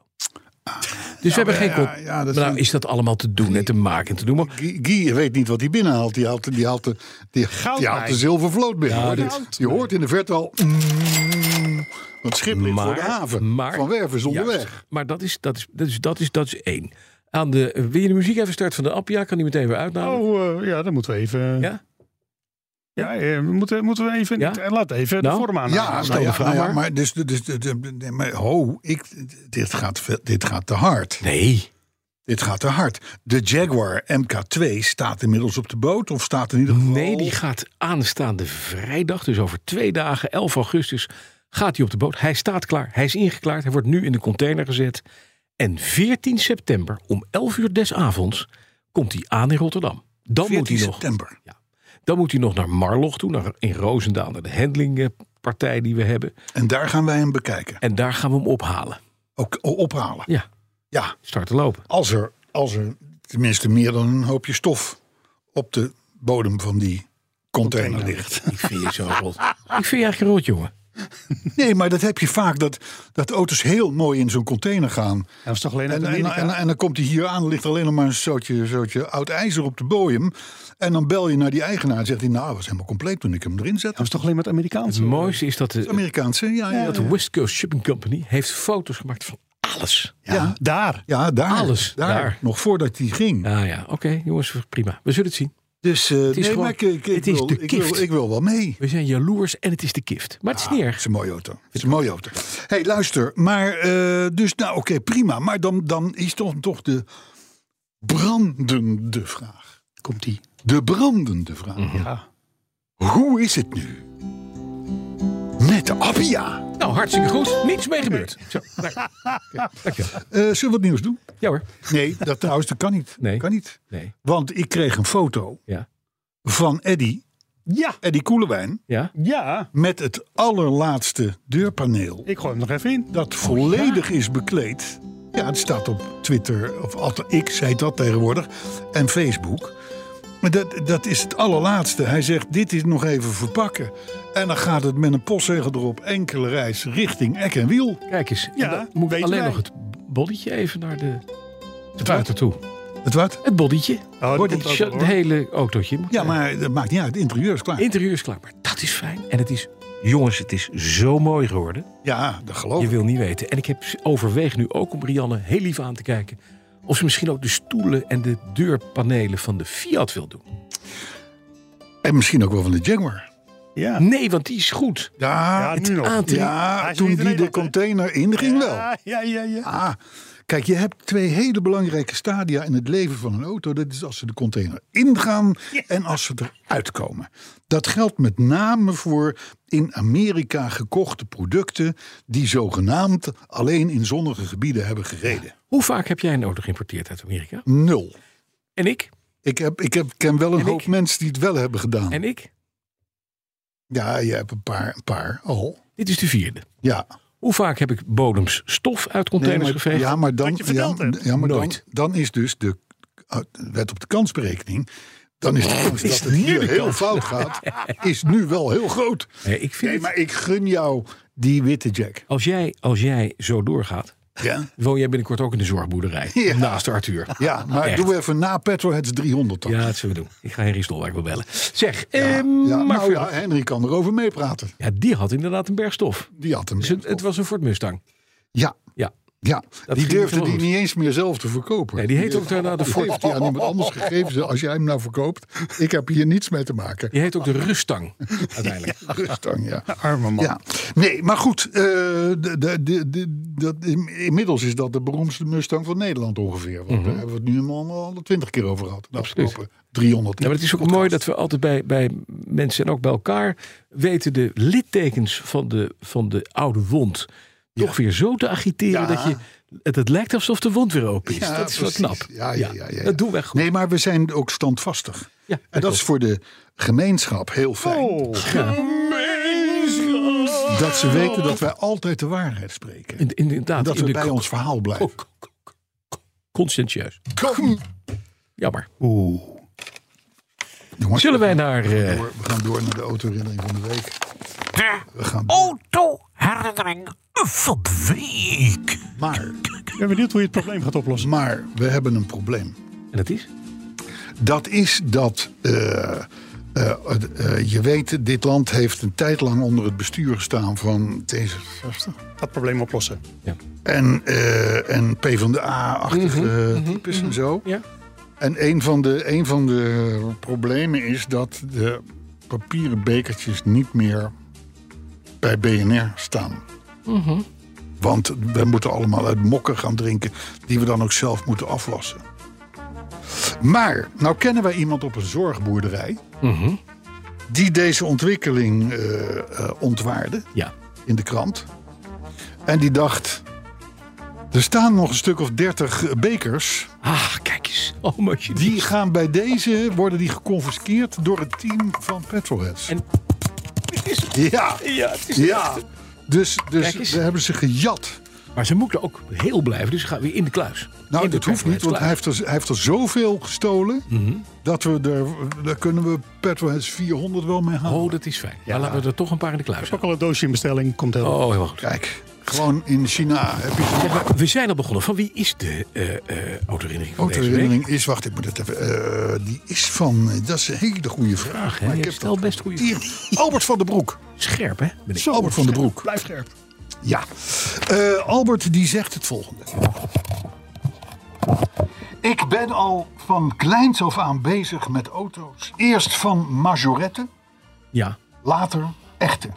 S3: Dus we hebben geen...
S2: Ah. ja, ja,
S3: con-
S2: dat
S3: maar nou,
S2: zijn-
S3: is dat allemaal te doen en te maken en te doen. Maar
S2: Guy, Guy weet niet wat hij binnenhaalt. Die haalt, die haalt de, die, die haalt de zilvervloot binnen. hoor. je hoort in de verte al... mm, want schip ligt voor de haven.
S3: maar-
S2: van Werven is
S3: juist.
S2: onderweg.
S3: maar dat is, dat, is, dat, is, dat, is, dat is één. Aan de, wil je de muziek even starten van de Appia? Kan die meteen weer uitnodigen?
S5: Oh, eh, ja, dan moeten we even...
S3: Ja?
S5: Ja, eh, moeten, moeten we even...
S3: Ja?
S5: eh, Laat even
S3: Nou?
S5: de vorm aan.
S2: Ja,
S5: Stel
S2: nou ja,
S5: de vraag
S2: nou ja,
S5: maar.
S2: maar dus, dus, dus- dus- maar ho, ik, dit, gaat, veel- dit gaat te hard.
S3: Nee.
S2: Dit gaat te hard. De Jaguar MK2 staat inmiddels op de boot of staat in ieder geval...
S3: Nee, die gaat aanstaande vrijdag, dus over twee dagen, 11 augustus, gaat hij op de boot. Hij staat klaar, hij is ingeklaard, hij wordt nu in de container gezet. En 14 september om 11 uur des avonds komt hij aan in Rotterdam. Dan moet
S2: 14
S3: hij nog
S2: september.
S3: Dan moet hij nog naar Marloch toe, naar, in Roosendaal, naar de handlingpartij die we hebben.
S2: En daar gaan wij hem bekijken.
S3: En daar gaan we hem ophalen.
S2: Ook o- ophalen.
S3: Ja,
S2: Ja,
S3: starten lopen.
S2: als er, als er tenminste meer dan een hoopje stof op de bodem van die container ligt.
S3: (laughs) Ik vind je zo rot. Ik vind je eigenlijk een rot, jongen.
S2: Nee, maar dat heb je vaak, dat, dat auto's heel mooi in zo'n container gaan.
S5: Dat was toch alleen uit
S2: En, en,
S5: Amerika?
S2: en, en dan komt hij hier aan, ligt alleen nog maar een zootje, zootje oud ijzer op de bodem. En dan bel je naar die eigenaar en zegt hij, nou, dat was helemaal compleet toen ik hem erin
S5: Dat
S2: zette.
S5: was toch alleen met Amerikaans?
S3: Het mooiste is dat de,
S2: Amerikaanse, ja, ja,
S3: dat de West Coast Shipping Company heeft foto's gemaakt van alles.
S5: Ja, daar.
S2: Ja, daar.
S3: Alles,
S2: Daar,
S3: daar.
S2: Nog voordat hij ging.
S3: Ja, Ah, ja. Oké, jongens, prima. We zullen het zien.
S2: Dus eh,
S3: is
S2: nee,
S3: gewoon-
S2: maar ik, ik, ik
S3: het is
S2: wil,
S3: de
S2: ik, wil,
S3: kift.
S2: ik wil wel mee.
S3: We zijn jaloers en het is de kift. Maar het
S5: Ah.
S3: is niet
S2: Het
S3: erg.
S2: is een mooie auto. Het is een mooie auto. hey, luister. Maar eh, dus, nou oké, prima. Maar dan, dan is toch, toch de brandende vraag.
S5: Komt die.
S2: De brandende vraag.
S5: Ja.
S2: Hoe is het nu? Met de Appia.
S3: Nou, hartstikke goed. Niets mee gebeurd. Zo, nou, oké, dankjewel.
S2: Eh, zullen we wat nieuws doen?
S3: Ja hoor.
S2: Nee, dat trouwens, dat kan niet.
S3: Nee.
S2: Kan niet.
S3: Nee.
S2: Want ik kreeg een foto
S3: Ja.
S2: van Eddy,
S5: Ja.
S2: Eddy Koelewijn,
S3: Ja.
S5: Ja.
S2: met het allerlaatste deurpaneel.
S5: Ik gooi hem nog even in.
S2: dat volledig is bekleed. Ja, het staat op Twitter, of at- ik zei dat tegenwoordig, en Facebook. Maar dat, dat is het allerlaatste. Hij zegt, dit is nog even verpakken. En dan gaat het met een postzegel erop enkele reis richting Eck en Wiel.
S3: Kijk eens.
S5: Ja,
S3: En dan moet
S5: weten
S3: alleen
S5: wij.
S3: nog het bolletje even naar de... Het water toe.
S2: Het wat?
S3: Het bolletje.
S5: Oh, dat
S3: Wordt
S5: komt
S3: het
S5: ook
S3: sho-
S5: wel, hoor.
S3: het hele autootje.
S2: Ja, maar dat maakt niet uit. Het interieur is klaar.
S3: Interieur is klaar. Maar dat is fijn. En het is... Jongens, het is zo mooi geworden.
S2: Ja, dat geloof
S3: Je
S2: ik.
S3: wil niet weten. En ik heb overweeg nu ook om Rianne heel lief aan te kijken. Of ze misschien ook de stoelen en de deurpanelen van de Fiat wil doen.
S2: En misschien ook wel van de Jaguar.
S5: Ja.
S3: Nee, want die is goed.
S2: Ja,
S5: Ja, nu nog.
S3: aan-
S2: ja,
S5: Hij is
S2: toen
S5: niet
S2: die
S5: alleen
S2: de
S5: dat, hè?
S2: container inging wel.
S5: Ja, ja, ja. ja.
S2: Ah, kijk, je hebt twee hele belangrijke stadia in het leven van een auto. Dat is als ze de container ingaan en als ze eruit komen. Dat geldt met name voor in Amerika gekochte producten die zogenaamd alleen in zonnige gebieden hebben gereden.
S3: Hoe vaak heb jij een auto geïmporteerd uit Amerika?
S2: Nul.
S3: En ik?
S2: Ik, heb, ik heb, ken wel een
S3: En
S2: hoop
S3: ik?
S2: mensen die het wel hebben gedaan.
S3: En ik?
S2: Ja, je hebt een paar, een paar al.
S3: Dit is de vierde.
S2: Ja,
S3: Hoe vaak heb ik bodems stof uit containers
S2: Nee, maar,
S3: geveegd?
S2: ja, maar dan,
S5: Wat je verteld
S2: ja,
S5: hebt.
S2: ja, maar dan,
S3: Nooit.
S2: dan is dus de uh, wet op de kansberekening. Dan is de kans dat het
S3: nu
S2: hier
S3: de
S2: heel
S3: kans?
S2: fout gaat, is nu wel heel groot.
S3: Nee, ik vind
S2: Nee,
S3: het-
S2: maar ik gun jou die witte jack.
S3: als, jij, als jij zo doorgaat,
S2: Ja,
S3: woon jij binnenkort ook in de zorgboerderij.
S2: Ja.
S3: Naast Arthur.
S2: ja maar
S3: Ah, Echt.
S2: doe even na Petroheads 300 dan.
S3: Ja, dat zullen we doen. Ik ga Henry Stolwijk wel bellen. Zeg,
S2: Ja,
S3: ehm,
S2: ja,
S3: maar
S2: nou ja, Henry kan erover meepraten.
S3: ja, die had inderdaad een berg stof.
S2: Die had hem.
S3: Dus het, het was een Ford Mustang.
S2: Ja,
S3: Ja.
S2: ja. die
S3: ging
S2: durfde
S3: niet
S2: die
S3: goed.
S2: niet eens meer zelf te verkopen.
S3: Nee, die heet ook daarna de
S2: Die
S3: Ford.
S2: heeft hij aan iemand anders gegeven. Als jij hem nou verkoopt, ik heb hier niets mee te maken.
S3: Die heet ook de Rustang. Uiteindelijk.
S2: Rustang, (laughs) ja.
S3: (laughs)
S5: Arme man.
S2: Ja, nee, maar goed. eh, de, de, de, de- dat, inmiddels is dat de beroemdste Mustang van Nederland ongeveer.
S3: Mhm.
S2: Want daar hebben we het nu al- al 20 keer over gehad. De afgelopen 300
S3: Ja, maar het is ook mooi dat we altijd bij, bij mensen en ook bij elkaar weten de littekens van de, van de oude wond toch weer zo te agiteren
S2: Ja.
S3: dat je het, het lijkt alsof de wond weer open is.
S2: Ja,
S3: dat is wel
S2: precies.
S3: knap.
S2: Ja, ja, ja, ja, ja.
S3: Dat doen wij goed.
S2: Nee, maar we zijn ook standvastig.
S3: Ja,
S2: en dat
S3: klopt. Oh,
S2: is voor de gemeenschap heel fijn. Dat ze weten dat wij altijd de waarheid spreken.
S3: In- in- inderdaad,
S2: dat
S3: in
S2: we
S3: de Oh,
S2: bij
S3: co-
S2: ons verhaal blijven.
S3: co- co- co- conscientieus.
S2: Kom.
S3: Jammer.
S2: Jongens,
S3: Zullen wij naar eh,
S2: door- we gaan door naar de autoherinnering van de week. We gaan
S3: Oh.
S6: Autoherinnering van de week.
S2: Maar,
S5: Ik ben benieuwd hoe je het probleem gaat oplossen.
S2: maar we hebben een probleem.
S3: en dat is?
S2: Dat is dat. eh, eh, eh, je weet, dit land heeft een tijd lang onder het bestuur gestaan van D66.
S5: Dat probleem oplossen.
S2: En, eh en PvdA-achtige types en zo.
S3: Ja.
S2: En een van, de, een van de problemen is dat de papieren bekertjes niet meer bij BNR staan. Want we moeten allemaal uit mokken gaan drinken die we dan ook zelf moeten afwassen. Maar, nou kennen wij iemand op een zorgboerderij die deze ontwikkeling eh, eh, ontwaarde
S3: Ja.
S2: in de krant. En die dacht, er staan nog een stuk of dertig bekers.
S3: Ah, kijk eens. Oh, mooi.
S2: Die gaan bij deze, worden die geconfiskeerd door het team van Petrolheads.
S3: En-
S2: Ja,
S3: Ja, het is
S2: ja. Dus,
S3: Kijk
S2: dus
S3: eens.
S2: we hebben ze gejat.
S3: Maar ze moeten ook heel blijven, dus ze gaan weer in de kluis.
S2: Nou,
S3: In de Mhm.
S2: dat hoeft niet, want hij
S3: Petrolheads
S2: heeft er, hij heeft er zoveel gestolen. dat we er. daar kunnen we Petroheads 400 wel mee
S3: kluis.
S2: halen.
S3: Oh, dat is fijn. Maar laten we er toch een paar in de kluis
S5: Pak
S3: houden.
S5: al een doosje in bestelling, komt helemaal.
S3: Oh, helemaal goed.
S2: Kijk, gewoon in China heb je
S3: Ja, maar we zijn al begonnen. Van wie is de eh eh autoherinnering van deze week?
S2: Autoherinnering is, wacht, ik moet het even. eh, die is van. eh, dat is een hele goede vraag.
S3: hè?
S2: maar ik
S3: Je
S2: heb
S3: stelt
S2: dat-
S3: best goede
S2: Hier, Albert van den Broek.
S3: Scherp, hè? Ben ik.
S2: Albert van den Broek.
S5: Blijf scherp.
S2: Ja. Eh, Albert die zegt het volgende. Ik ben al van kleins af aan bezig met auto's. Eerst van majoretten,
S3: Ja.
S2: later echte.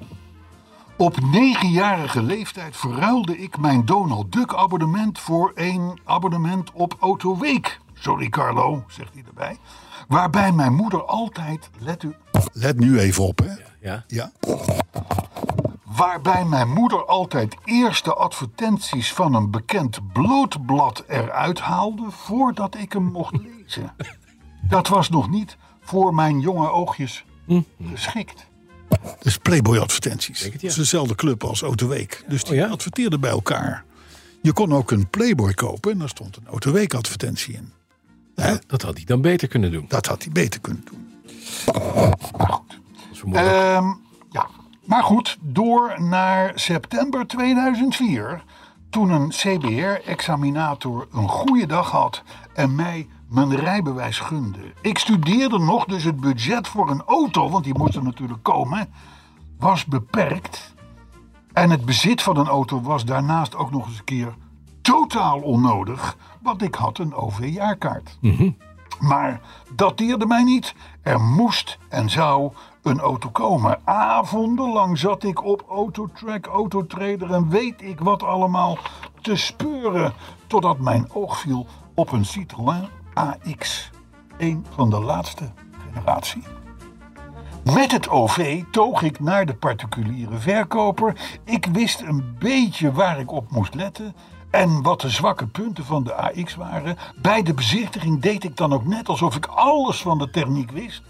S2: Op negenjarige leeftijd verruilde ik mijn Donald Duck abonnement voor een abonnement op Autoweek. Sorry Carlo, zegt hij erbij. Waarbij mijn moeder altijd, let u... Let nu even op hè.
S3: ja.
S2: Ja. Waarbij mijn moeder altijd eerst de advertenties van een bekend blootblad eruit haalde voordat ik hem mocht lezen. Dat was nog niet voor mijn jonge oogjes geschikt. Dus Playboy-advertenties.
S3: Mhm. het,
S2: Het,
S3: ja.
S2: is dezelfde club als Autoweek. Dus die
S3: Oh, ja?
S2: adverteerden bij elkaar. Je kon ook een Playboy kopen en daar stond een Autoweek-advertentie in.
S3: Dat had hij dan beter kunnen doen.
S2: Dat had hij beter kunnen doen.
S3: Als we morgen-
S2: Ehm, ja. Maar goed, door naar september 2004. Toen een CBR-examinator een goede dag had en mij mijn rijbewijs gunde. Ik studeerde nog, dus het budget voor een auto, want die moest er natuurlijk komen, was beperkt. En het bezit van een auto was daarnaast ook nog eens een keer totaal onnodig, want ik had een OV-jaarkaart. Maar dat deerde mij niet. Er moest en zou een auto komen. Avondenlang zat ik op Autotrack, Autotrader en weet ik wat allemaal te speuren. Totdat mijn oog viel op een Citroën AX. Een van de laatste generatie. Met het OV toog ik naar de particuliere verkoper. Ik wist een beetje waar ik op moest letten en wat de zwakke punten van de AX waren. Bij de bezichtiging deed ik dan ook net alsof ik alles van de techniek wist.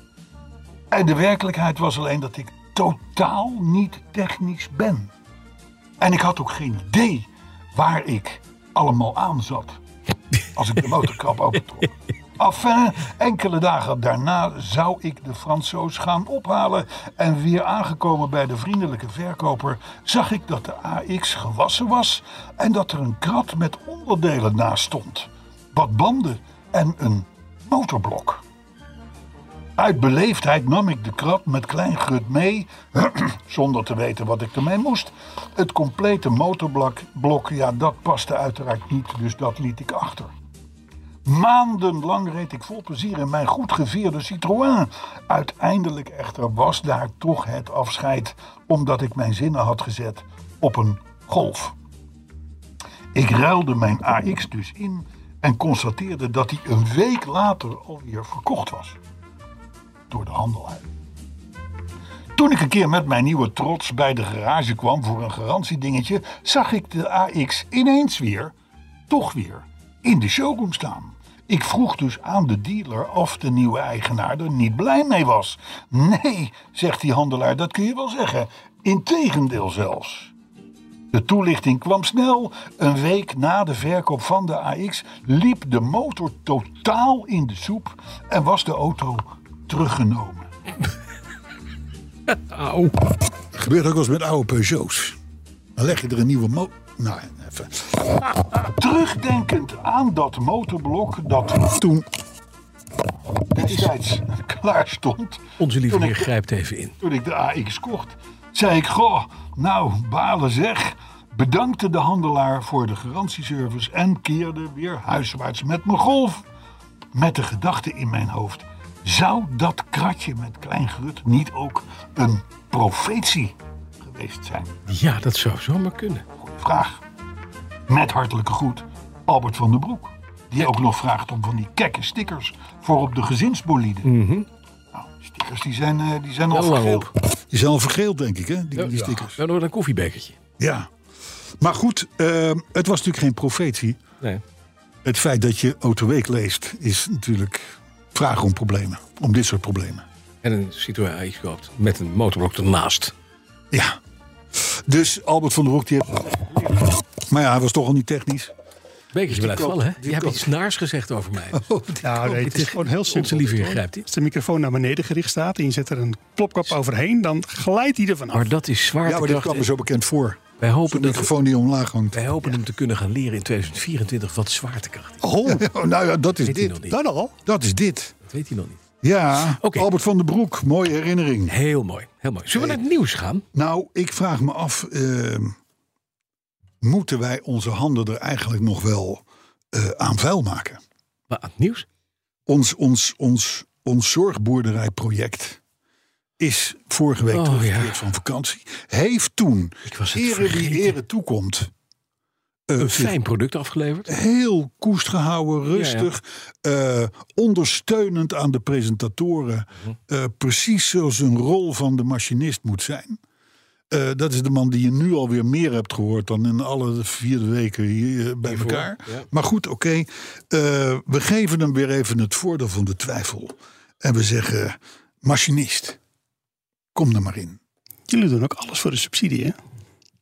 S2: En de werkelijkheid was alleen dat ik totaal niet technisch ben. En ik had ook geen idee waar ik allemaal aan zat als ik de motorkap opentrok. Enfin, enkele dagen daarna zou ik de Fransoos gaan ophalen. En weer aangekomen bij de vriendelijke verkoper zag ik dat de AX gewassen was en dat er een krat met onderdelen naast stond. Wat banden en een motorblok. Uit beleefdheid nam ik de krat met klein grut mee, (clears throat) zonder te weten wat ik ermee moest. Het complete motorblok, blok, ja, dat paste uiteraard niet, dus dat liet ik achter. Maandenlang reed ik vol plezier in mijn goed gevierde Citroën. Uiteindelijk echter was daar toch het afscheid, omdat ik mijn zinnen had gezet op een golf. Ik ruilde mijn AX dus in en constateerde dat die een week later alweer verkocht was door de handel uit. Toen ik een keer met mijn nieuwe trots bij de garage kwam voor een garantiedingetje, zag ik de AX ineens weer, toch weer, in de showroom staan. Ik vroeg dus aan de dealer of de nieuwe eigenaar er niet blij mee was. Nee, zegt die handelaar, dat kun je wel zeggen. Integendeel zelfs. De toelichting kwam snel. Een week na de verkoop van de AX liep de motor totaal in de soep en was de auto teruggenomen.
S3: (laughs) Au.
S2: Dat gebeurt ook wel eens met oude Peugeots. Dan leg je er een nieuwe motor. Nou, even. Terugdenkend aan dat motorblok dat toen destijds (laughs) klaar stond.
S3: Onze lieve
S2: toen
S3: heer
S2: ik-
S3: grijpt even in.
S2: toen ik de AX kocht, zei ik: Goh, nou, balen zeg. Bedankte de handelaar voor de garantieservice en keerde weer huiswaarts met mijn golf. Met de gedachte in mijn hoofd: zou dat kratje met klein grut niet ook een profetie geweest zijn?
S3: Ja, dat zou zomaar kunnen.
S2: Vraag. Met hartelijke groet, Albert van den Broek. Die ook nog vraagt om van die kekke stickers voor op de gezinsbolide. Nou, stickers die zijn, eh, die zijn al
S3: Wel lang
S2: vergeeld.
S3: op.
S2: Die zijn al vergeeld, denk ik, hè? Die,
S3: Ja, Ja, door een koffiebekertje.
S2: Ja. Maar goed, eh, het was natuurlijk geen profetie.
S3: Nee.
S2: Het feit dat je Autoweek leest is natuurlijk vragen om problemen. Om dit soort problemen.
S3: En een Citroën AX koopt met een motorblok ernaast.
S2: Ja. Dus Albert van der Hoek die heeft...
S7: Maar ja, hij was toch al niet technisch.
S3: Bekertje blijft
S7: koopt-
S3: vallen, hè?
S7: die
S3: Je hebt
S7: koopt- Oh,
S3: iets naars gezegd over mij.
S5: Nou, nee, het is gewoon heel simpel.
S3: Onze lieve heer grijpt in.
S5: Als de microfoon naar beneden gericht staat en je zet er een plopkap overheen, dan glijdt hij ervan af.
S3: Maar dat is zwaar.
S7: Ja, maar dit kwam me zo bekend voor.
S3: Wij
S7: De
S3: hopen, dat,
S7: microfoon die omlaag hangt.
S3: wij hopen hem te kunnen gaan leren in 2024 wat zwaartekracht is.
S7: Oh, (laughs) nou ja, dat is
S3: Weet hij nog
S7: dit.
S3: niet.
S5: Dan al?
S7: Dat is dit.
S3: Dat weet hij nog niet.
S7: Ja,
S3: Oké.
S7: Albert van den Broek, mooie herinnering.
S3: Heel mooi. Heel mooi. Zullen we naar het nieuws gaan?
S7: Nou, ik vraag me af, ehm, moeten wij onze handen er eigenlijk nog wel eh, aan vuil maken?
S3: Maar aan het nieuws?
S7: Ons, ons, ons, ons zorgboerderijproject is vorige week
S3: Oh,
S7: teruggekeerd
S3: ja.
S7: van vakantie. Heeft toen,
S3: Ik was het
S7: ere
S3: vergeten.
S7: die ere toekomt, eh,
S3: Een
S7: zich
S3: fijn product afgeleverd.
S7: heel koest gehouden, rustig, eh, ondersteunend aan de presentatoren.
S3: Mhm.
S7: Eh, precies zoals een rol van de machinist moet zijn. Eh, dat is de man die je nu alweer meer hebt gehoord dan in alle vier weken hier eh, bij
S3: Hiervoor,
S7: elkaar.
S3: ja.
S7: Maar goed, oké. Eh, we geven hem weer even het voordeel van de twijfel. En we zeggen, machinist, kom er maar in.
S5: Jullie doen ook alles voor de subsidie, hè?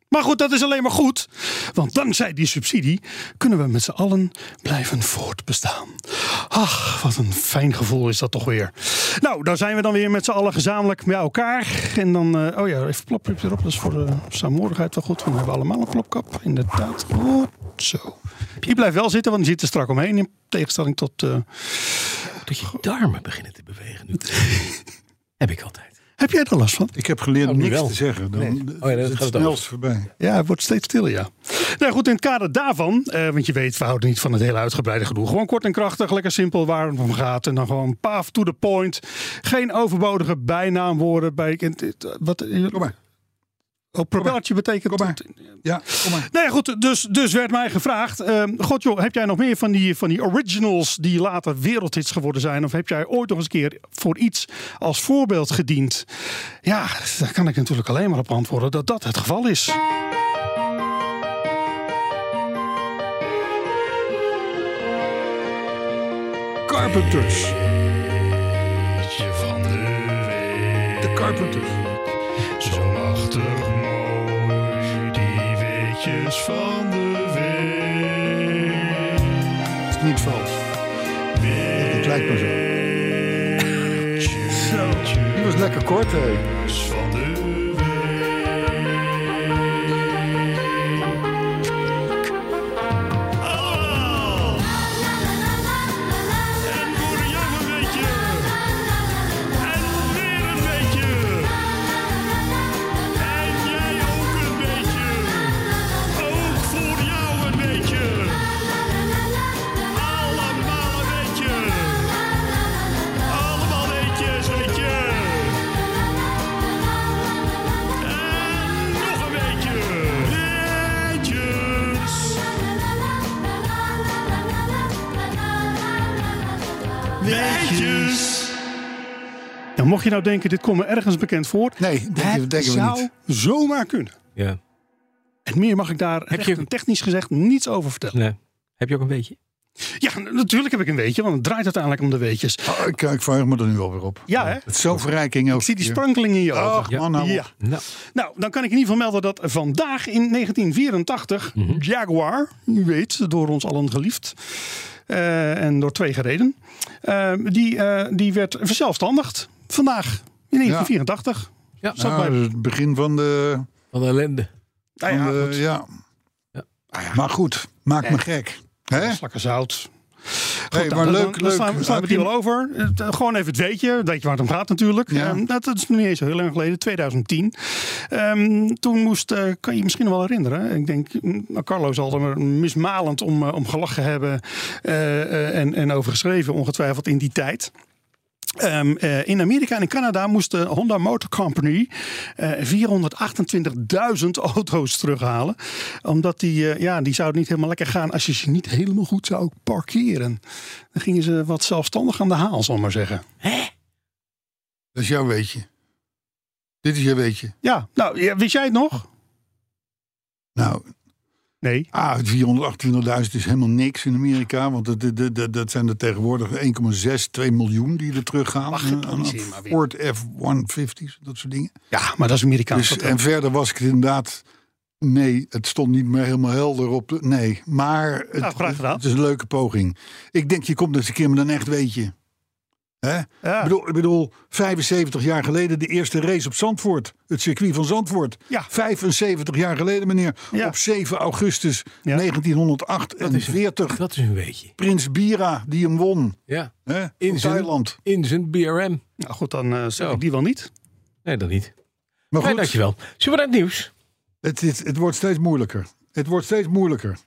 S5: Maar goed, dat is alleen maar goed. Want dankzij die subsidie kunnen we met z'n allen blijven voortbestaan. Ach, wat een fijn gevoel is dat toch weer. Nou, daar zijn we dan weer met z'n allen gezamenlijk bij elkaar. En dan, eh, oh ja, even plopkap erop. Dat is voor de saamhorigheid wel goed. want We hebben allemaal een plopkap. Inderdaad, goed zo. Je blijft wel zitten, want je zit er strak omheen. In tegenstelling tot... eh,
S3: Ook Dat je darmen beginnen te bewegen
S7: (laughs)
S3: nu. Heb ik altijd.
S5: Heb jij er last van?
S7: Ik heb geleerd
S3: Oh, nu
S7: niks
S3: wel.
S7: te zeggen. Dan
S3: Nee.
S7: is
S3: Oh ja, dat
S7: het
S3: gaat over.
S7: snelst voorbij.
S5: Ja, het wordt steeds stil, ja. Nou goed, in het kader daarvan, eh, want je weet, we houden niet van het hele uitgebreide gedoe. Gewoon kort en krachtig, lekker simpel waar het om gaat. En dan gewoon paf to the point. Geen overbodige bijnaamwoorden. Bij, en dit- wat,
S7: Kom maar,
S5: oh, propellertje betekent...
S7: Kom maar. ja, kom maar.
S5: Nee, goed, dus, dus werd mij gevraagd. ehm, God joh, heb jij nog meer van die, van die originals die later wereldhits geworden zijn? Of heb jij ooit nog eens een keer voor iets als voorbeeld gediend? Ja, daar kan ik natuurlijk alleen maar op antwoorden dat dat het geval is.
S7: Carpenters. de Carpenters.
S5: Zo machtig mooi, die weetjes van de week.
S7: is niet vals. Het lijkt me zo. Zo. Die was lekker kort, hè?
S5: Nou, mocht je nou denken, dit komt me ergens bekend voor.
S7: Nee, denken we-
S5: het
S7: denken we
S5: zou
S7: niet.
S5: zomaar kunnen.
S3: Ja.
S5: En meer mag ik daar
S3: Heb
S5: echt
S3: je-
S5: een technisch gezegd niets over vertellen.
S3: Nee. Heb je ook een beetje?
S5: Ja, n- natuurlijk heb ik een weetje, want het draait uiteindelijk om de weetjes.
S7: Oh, ik, ik verheug me er nu alweer op.
S5: Ja, hè?
S7: Het is zo'n verrijking.
S5: Ik zie die sprankeling in je ogen.
S7: Ach, man, nou.
S5: Ja.
S3: Nou,
S5: Nou, dan kan ik in ieder geval melden dat vandaag in 1984 Jaguar, u weet, door ons allen geliefd eh, en door twee gereden, eh, die, eh, die werd verzelfstandigd vandaag in 1984.
S3: Ja.
S5: zat
S7: Nou,
S5: bij-
S7: dat is het begin van de...
S3: wat een ellende.
S5: nou
S7: van
S5: ja,
S7: de-
S5: goed.
S7: ja. Ah,
S3: Ja.
S7: Maar goed, maakt me gek. Hè?
S5: Slakken zout.
S7: Hey,
S5: Goed,
S7: maar
S5: dan-
S7: leuk,
S5: dan- dan
S7: leuk.
S5: slaan we- slaan we het hier wel over. Het, eh, gewoon even het weetje. Weet je waar het om gaat natuurlijk.
S7: Ja.
S5: Ehm, dat, dat is nog niet eens zo heel lang geleden. 2010. Ehm, toen moest, eh, kan je je misschien wel herinneren. Ik denk, mm, Carlo zal er mismalend om, eh, om gelachen hebben. eh, eh, en, en over geschreven ongetwijfeld in die tijd. Ehm, eh, in Amerika en in Canada moest de Honda Motor Company eh, 428.000 (laughs) auto's terughalen. Omdat die, eh, ja, die zouden niet helemaal lekker gaan als je ze niet helemaal goed zou parkeren. Dan gingen ze wat zelfstandig aan de haal, zal ik maar zeggen.
S7: Dat is jouw weetje. Dit is jouw weetje.
S5: Ja, nou, ja, wist jij het nog?
S7: Nou,
S5: Nee.
S7: Ah, 428.000 is helemaal niks in Amerika. Want dat, dat, dat, dat zijn er tegenwoordig 1,6, 2 miljoen die er teruggaan.
S5: Mag ik
S7: Aan- aan
S5: niet zien, maar weer.
S7: Ford F-150's, dat soort dingen.
S5: Ja, maar dat is Amerikaans.
S7: Dus, en verder was ik het inderdaad Nee, het stond niet meer helemaal helder op. de- Nee, maar het,
S5: Nou, graag gedaan.
S7: het is een leuke poging. Ik denk, je komt eens een keer met een echt weetje. Hè?
S5: Ja.
S7: Ik, bedoel, ik bedoel, 75 jaar geleden de eerste race op Zandvoort. Het circuit van Zandvoort.
S5: Ja.
S7: 75 jaar geleden, meneer.
S5: Ja.
S7: Op 7 augustus
S5: Ja.
S7: 1948.
S3: Dat is een weetje.
S7: Prins Bira die hem won.
S3: Ja.
S7: Hè?
S3: In
S7: op
S3: zijn-
S7: Thailand.
S3: In zijn BRM.
S5: Nou goed, dan eh, zeg
S3: Zo.
S5: ik die wel niet.
S3: Nee, dat niet.
S7: Maar
S3: Nee,
S7: goed,
S3: dankjewel. Zullen we naar het nieuws?
S7: het, is- het wordt steeds moeilijker. Het wordt steeds moeilijker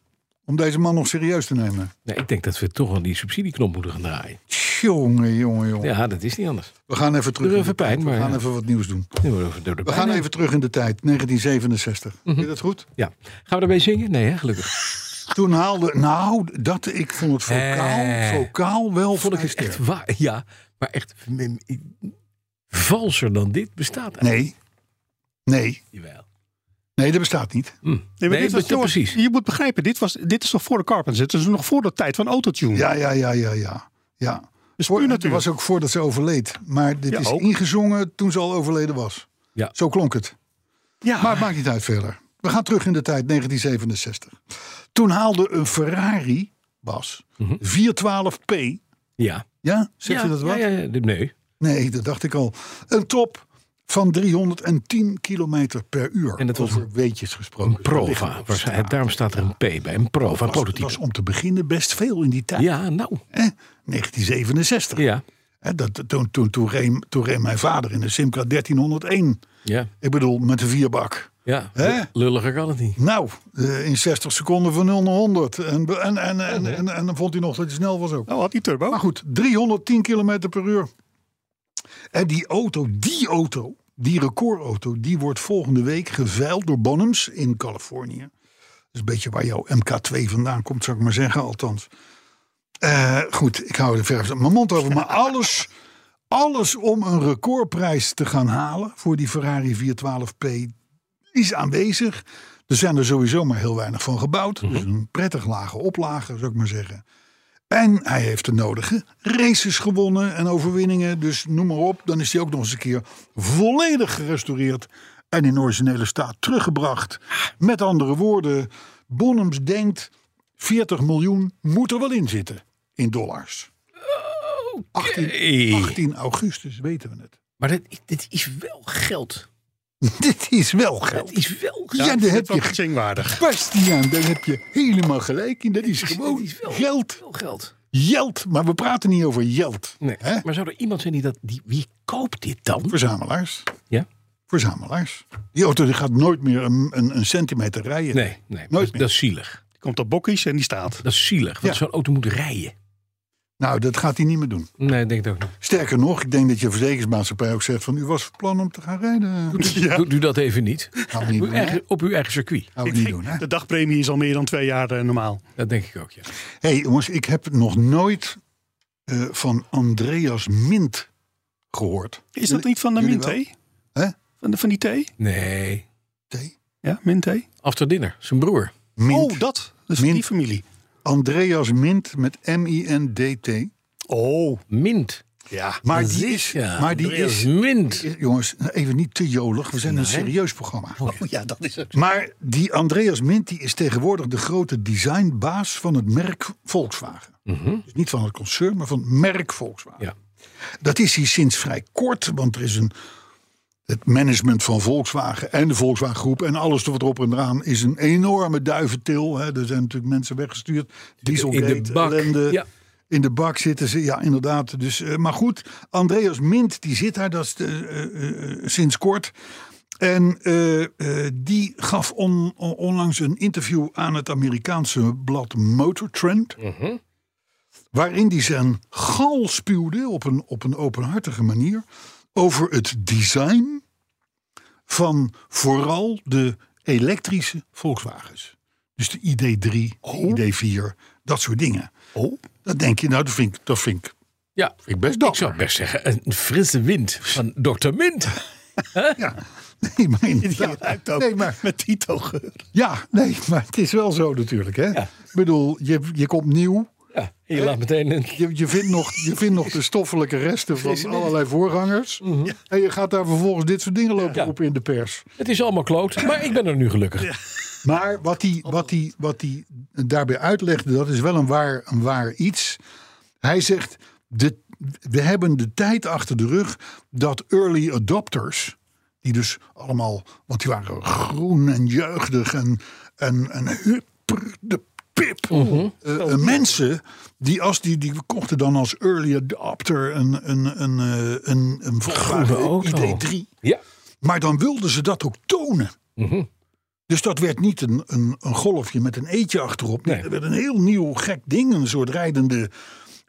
S7: om deze man nog serieus te nemen.
S3: Nee, ik denk dat we toch wel die subsidieknop moeten gaan draaien.
S7: Jongen, jongen, jongen.
S3: Ja, dat is niet anders.
S7: We gaan even terug.
S3: Doe
S7: in de
S3: even
S7: tijd.
S3: pijn, maar
S7: We gaan
S3: ja.
S7: even wat nieuws doen.
S3: Nu worden we door de
S7: We
S3: pijn
S7: gaan
S3: heen.
S7: even terug in de tijd, 1967.
S3: Mhm.
S7: Vind je dat goed?
S3: Ja. Gaan we erbij zingen? Nee, hè, gelukkig.
S7: Toen haalde, nou, dat, ik vond het vocaal,
S3: Eh.
S7: vocaal wel
S3: Vond ik
S7: vrij
S3: het echt
S7: sterk.
S3: waar. Ja, maar echt m- m- valser dan dit bestaat eigenlijk.
S7: Nee, nee,
S3: Jawel.
S7: nee, dat bestaat niet.
S3: Hm. Nee,
S5: maar dit was-
S3: dat-
S5: jongens,
S3: precies.
S5: Je moet begrijpen, dit, was, dit is nog voor de Carpenters. Het is nog voor de tijd van autotune.
S7: Ja, ja, ja, ja, ja. ja.
S5: dus
S7: Voor,
S5: puur
S7: het
S5: natuurlijk.
S7: was ook voordat ze overleed. Maar dit
S5: Ja,
S7: is
S5: ook.
S7: ingezongen toen ze al overleden was.
S3: Ja.
S7: Zo klonk het.
S5: Ja,
S7: Maar het maakt niet uit verder. We gaan terug in de tijd, 1967. Toen haalde een Ferrari, Bas,
S3: Mhm.
S7: 412p.
S3: Ja.
S7: Ja, zeg
S3: ja,
S7: je dat wat?
S3: Ja, ja, ja. nee.
S7: Nee, dat dacht ik al. Een top van 310 kilometer per uur.
S3: En dat was
S7: Over weetjes gesproken.
S3: Een Prova. waarschijnlijk. Daarom staat er een P bij. Een Prova, een
S7: Dat
S3: prototype.
S7: was om te beginnen best veel in die tijd.
S3: Ja, nou.
S7: Hè? 1967.
S3: Ja.
S7: Hè, dat, toen, toen, toen, reed, toen reed mijn vader in de Simca 1301.
S3: Ja.
S7: Ik bedoel, met de vierbak.
S3: Ja.
S7: Hè?
S3: Lulliger kan het niet.
S7: Nou, eh, in 60 seconden van 0 naar 100. En, be- en, en, en, en, en dan vond hij nog dat hij snel was ook.
S5: oh, had die turbo.
S7: Maar goed, 310 kilometer per uur. En die auto, die auto, die recordauto, die wordt volgende week geveild door Bonhams in Californië. Dat is een beetje waar jouw MK2 vandaan komt, zou ik maar zeggen, althans. Eh, goed, ik hou er verf mijn mond over. Maar alles, alles om een recordprijs te gaan halen voor die Ferrari 412p is aanwezig. Er zijn er sowieso maar heel weinig van gebouwd. Dus een prettig lage oplage, zou ik maar zeggen. En hij heeft de nodige races gewonnen en overwinningen. Dus noem maar op. Dan is hij ook nog eens een keer volledig gerestaureerd. En in originele staat teruggebracht. Met andere woorden, Bonhams denkt 40 miljoen moet er wel in zitten. In dollars. 18, 18 augustus weten we het.
S3: Maar dit, dit is wel geld.
S7: (laughs) Dit is wel geld.
S3: Het is wel
S7: Ja,
S3: geld.
S7: daar
S5: dat
S7: heb
S5: is wel
S7: je,
S5: zingwaardig.
S7: Bastiaan, daar heb je helemaal gelijk in. Dat is
S3: Het
S7: gewoon
S3: is wel
S7: geld.
S3: Wel geld.
S7: Geld. Maar we praten niet over geld.
S3: Nee.
S7: Hè?
S3: Maar zou er iemand zijn die dat... Die, wie koopt dit dan?
S7: Verzamelaars.
S3: Ja?
S7: verzamelaars. Die auto die gaat nooit meer een, een, een centimeter rijden.
S3: Nee, nee.
S7: Nooit
S3: dat,
S7: meer.
S3: dat is zielig.
S5: Die komt op bokkies en die staat.
S3: Dat is zielig. Want
S7: Ja.
S3: zo'n auto moet rijden.
S7: Nou, dat gaat hij niet meer doen.
S3: Nee, ik denk het ook
S7: (laughs)
S3: niet.
S7: Sterker nog, ik denk dat je verzekeringsmaatschappij ook zegt van... u was van plan om te gaan rijden.
S5: Ja.
S3: Doe, doe dat even niet.
S7: Gaan we niet
S3: Op
S7: doen,
S3: uw,
S7: hè?
S3: eigen, op uw eigen circuit.
S7: Gaan we niet doen, hè?
S5: De dagpremie is al meer dan twee jaar eh, normaal.
S3: Dat denk ik ook, ja.
S7: hey, jongens, ik heb nog nooit eh, van Andreas Mint gehoord.
S5: Is dat niet van de
S7: Jullie
S5: mint thee?
S7: wel? Hè?
S5: Van, de, van die thee?
S3: Nee.
S7: Nee.
S5: Ja, mint thee.
S3: After dinner. Zijn broer.
S7: Mint.
S5: Oh, dat. Dus
S7: Mint.
S5: die familie.
S7: Andreas Mint met M-I-N-D-T.
S5: Oh,
S3: Mint.
S5: ja.
S7: Maar die is...
S3: Ja,
S7: Maar die
S3: Andreas
S7: is
S3: Mint.
S7: is- jongens, nou, even niet te jolig. We zijn een serieus programma.
S5: Oh, ja, dat is het.
S7: Maar die Andreas Mint die is tegenwoordig de grote designbaas van het merk Volkswagen. Dus niet van het concern, maar van het merk Volkswagen.
S3: Ja.
S7: Dat is hij sinds vrij kort, want er is een. Het management van Volkswagen en de Volkswagen Groep en alles wat erop en eraan is een enorme duiventil. Hè. Er zijn natuurlijk mensen weggestuurd. Dieselgate,
S3: In de bak,
S7: ellende.
S3: ja.
S7: In de bak zitten ze, ja inderdaad. Dus, eh, maar goed, Andreas Mint die zit daar dat is, eh, eh, eh, sinds kort. En eh, eh, die gaf on- on- onlangs een interview aan het Amerikaanse blad Motor Trend. Waarin die zijn gal spuwde op een, op een openhartige manier over het design van vooral de elektrische Volkswagens. Dus de ID3, de ID4, dat soort dingen.
S5: Oh,
S7: Dat denk je, nou dat vind ik, dat vind ik,
S5: (laughs)
S3: Ja.
S7: vind ik best
S3: Ik
S7: dapper.
S3: zou best zeggen, een frisse wind van Dr. Mint.
S7: Ja. Nee, maar
S5: die
S7: inderdaad.
S5: ruikt ook
S7: Nee, maar,
S5: met Tito-geur.
S7: ja, nee, maar het is wel zo natuurlijk. Hè?
S3: Ja.
S7: Ik bedoel, je, je komt nieuw.
S3: Ja, en je laat meteen een...
S7: Je, je, vindt nog, je vindt nog de stoffelijke resten van allerlei voorgangers. En je gaat daar vervolgens dit soort dingen lopen
S3: Ja.
S7: roepen in de pers.
S3: Het is allemaal kloot, maar ik ben er nu gelukkig.
S7: Maar wat hij wat die, wat die daarbij uitlegde, dat is wel een waar, een waar iets. Hij zegt, de, we hebben de tijd achter de rug dat early adopters... die dus allemaal, want die waren groen en jeugdig en, en, en hupper de pip. Eh, eh, mensen die, als die, die kochten dan als early adopter een, een, een, eh, een, een Volkswagen
S3: auto.
S7: ID3...
S3: Ja.
S7: Maar dan wilden ze dat ook tonen. Dus dat werd niet een, een, een golfje met een eetje achterop. Nee,
S3: Nee.
S7: dat werd een heel nieuw gek ding. Een soort rijdende,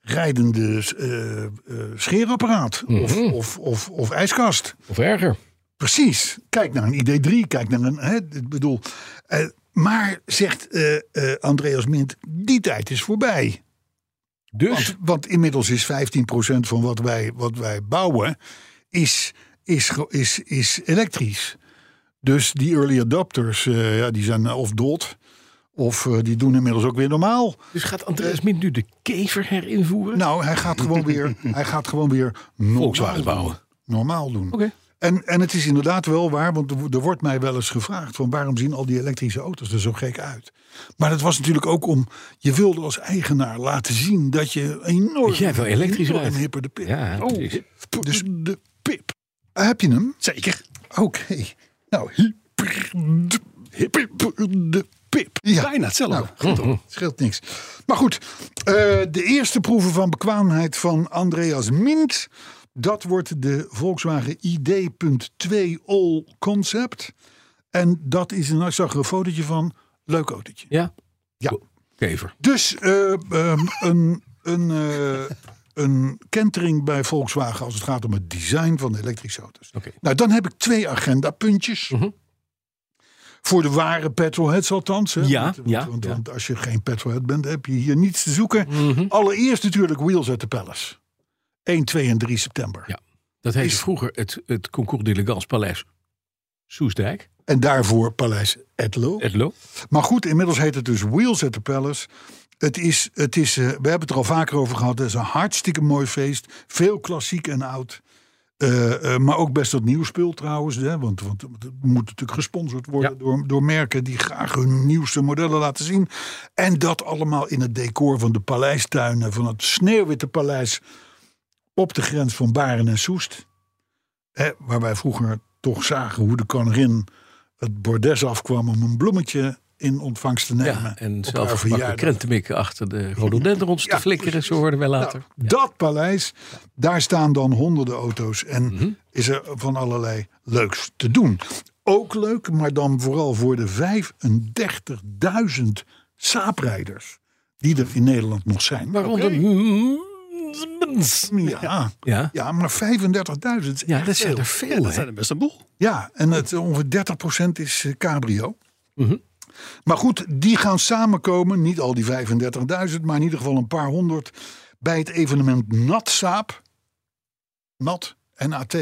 S7: rijdende eh, eh, scheerapparaat. Of, of, of, of ijskast.
S3: Of erger.
S7: Precies. Kijk naar een ID3, kijk naar een. Hè, ik bedoel. eh, maar zegt eh, eh, Andreas Mint, die tijd is voorbij.
S3: Dus
S7: Want, want inmiddels is 15% van wat wij, wat wij bouwen is, is, ge- is, is elektrisch. Dus die early adopters, eh, ja, die zijn of dood. Of eh, die doen inmiddels ook weer normaal.
S3: Dus gaat Andreas Mint nu de kever herinvoeren?
S7: Nou, hij gaat gewoon
S3: (laughs)
S7: weer, hij gaat gewoon weer
S3: Volkswagen
S7: normaal doen.
S3: bouwen.
S7: Normaal doen.
S3: Oké.
S7: En, en het is inderdaad wel waar, want er wo- er wordt mij wel eens gevraagd: van waarom zien al die elektrische auto's er zo gek uit? Maar dat was natuurlijk ook om. Je wilde als eigenaar laten zien dat je enorm.
S3: Dat jij wel elektrisch
S7: enorm
S3: rijdt.
S7: hipper de pip.
S3: Ja, precies.
S7: P- Dus de pip. Heb je hem?
S5: Zeker.
S7: Oké. Nou, hyper de, hyper de pip. Ja.
S5: Bijna hetzelfde.
S7: Nou, goed dan. Het (laughs) scheelt niks. Maar goed, eh, de eerste proeven van bekwaamheid van Andreas Mint. Dat wordt de Volkswagen ID.2 All Concept. En dat is een, ik zag er een fotootje van, leuk autootje.
S3: Ja?
S7: Ja.
S3: Kever.
S7: Dus eh, ehm, een, een, eh, een kentering bij Volkswagen als het gaat om het design van de elektrische auto's.
S3: Oké. Mhm.
S7: Nou, dan heb ik twee agendapuntjes. Voor de ware petrolheads althans. Hè?
S3: Ja,
S7: want, want-
S3: ja,
S7: want,
S3: ja. Mhm.
S7: want als je geen petrolhead bent, heb je hier niets te zoeken. Allereerst natuurlijk Wheels at the Palace. 1, 2 en 3 september.
S3: Ja. Dat heette
S7: Is-
S3: vroeger het, het Concours d'Elegance Paleis Soesdijk.
S7: En daarvoor Paleis Etlo.
S3: Het Lo.
S7: Maar goed, inmiddels heet het dus Wheels at the Palace. Het is, het is, eh, we hebben het er al vaker over gehad. Het is een hartstikke mooi feest. Veel klassiek en oud. Eh, eh, maar ook best wat nieuw spul trouwens. Hè? Want, want het moet natuurlijk gesponsord worden
S3: Ja.
S7: door, door merken die graag hun nieuwste modellen laten zien. En dat allemaal in het decor van de paleistuinen. Van het sneeuwwitte paleis op de grens van Baren en Soest. Hè, waar wij vroeger toch zagen hoe de koningin het bordes afkwam om een bloemetje in ontvangst te nemen.
S3: Ja, en
S7: op
S3: zelf
S7: haar
S3: gebakken
S7: verjaardag.
S3: krentenmikken achter de rhododendrons te
S7: Ja,
S3: flikkeren. Zo hoorden wij
S7: Nou,
S3: later.
S7: Dat paleis, daar staan dan honderden auto's en is er van allerlei leuks te doen. Ook leuk, maar dan vooral voor de 35.000 saaprijders die er in Nederland nog zijn.
S3: Waaronder...
S7: Ja,
S3: Ja.
S7: ja, maar 35.000. is
S3: ja,
S7: echt
S3: dat zijn
S7: veel.
S3: er veel.
S5: Oh, Dat
S3: hè?
S5: zijn er best een boel.
S7: Ja, en het, eh, ongeveer 30% is eh, cabrio. Maar goed, die gaan samenkomen, niet al die 35.000, maar in ieder geval een paar honderd, bij het evenement NatSaap, NAT, NAT,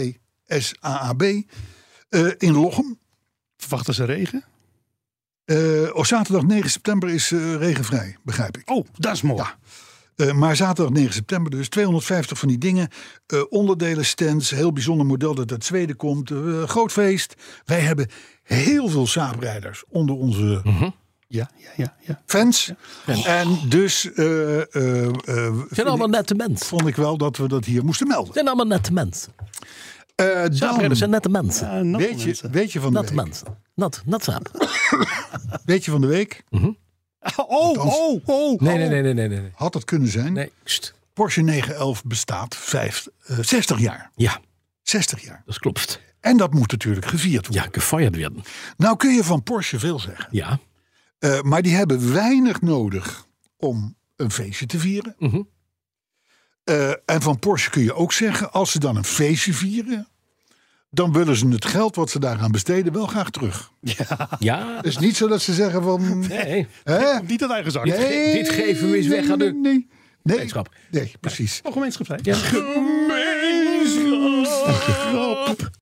S7: SAAB, eh in Lochem.
S5: Verwachten ze regen?
S7: Eh, op zaterdag 9 september is eh, regenvrij, begrijp ik.
S5: Oh, dat is mooi.
S7: Eh, maar zaterdag 9 september dus 250 van die dingen. eh, onderdelen, stands, heel bijzonder model dat uit Zweden komt. eh, groot feest. Wij hebben heel veel saaprijders onder onze
S5: Ja, ja, ja. ja.
S7: fans. En dus eh, eh, eh,
S3: zijn
S7: vind
S3: allemaal
S7: ik,
S3: nette mensen.
S7: vond ik wel dat we dat hier moesten melden.
S3: zijn allemaal nette mensen.
S7: Eh, dan,
S3: Saaprijders zijn nette mensen.
S5: Ah, natte
S7: weet, je,
S5: mensen.
S7: weet, je van de
S3: Natte
S7: week,
S3: mensen. Nat, natzaap.
S7: Oh. weet je van de week,
S3: Hm.
S5: Oh, oh, oh.
S3: Nee, nee, nee, nee, nee. nee.
S7: had het kunnen zijn.
S3: nee. kst.
S7: Porsche 911 bestaat vijf, eh, 60 jaar.
S3: Ja,
S7: 60 jaar.
S3: dat klopt.
S7: En dat moet natuurlijk gevierd worden.
S3: Ja, gefeierd werden.
S7: Nou kun je van Porsche veel zeggen.
S3: Ja.
S7: Eh, maar die hebben weinig nodig om een feestje te vieren.
S3: Mhm.
S7: Eh, en van Porsche kun je ook zeggen, als ze dan een feestje vieren, dan willen ze het geld wat ze daaraan besteden wel graag terug. (laughs)
S3: Ja.
S7: Het is niet zo dat ze zeggen
S3: (laughs)
S7: van.
S3: Nee.
S7: Hè?
S5: Niet dat eigen zak.
S7: Nee,
S3: dit geven we eens weg aan de-
S7: nee, nee, nee, nee,
S3: Gemeenschap.
S7: nee, precies.
S5: Oh, gemeenschap.
S3: Ja.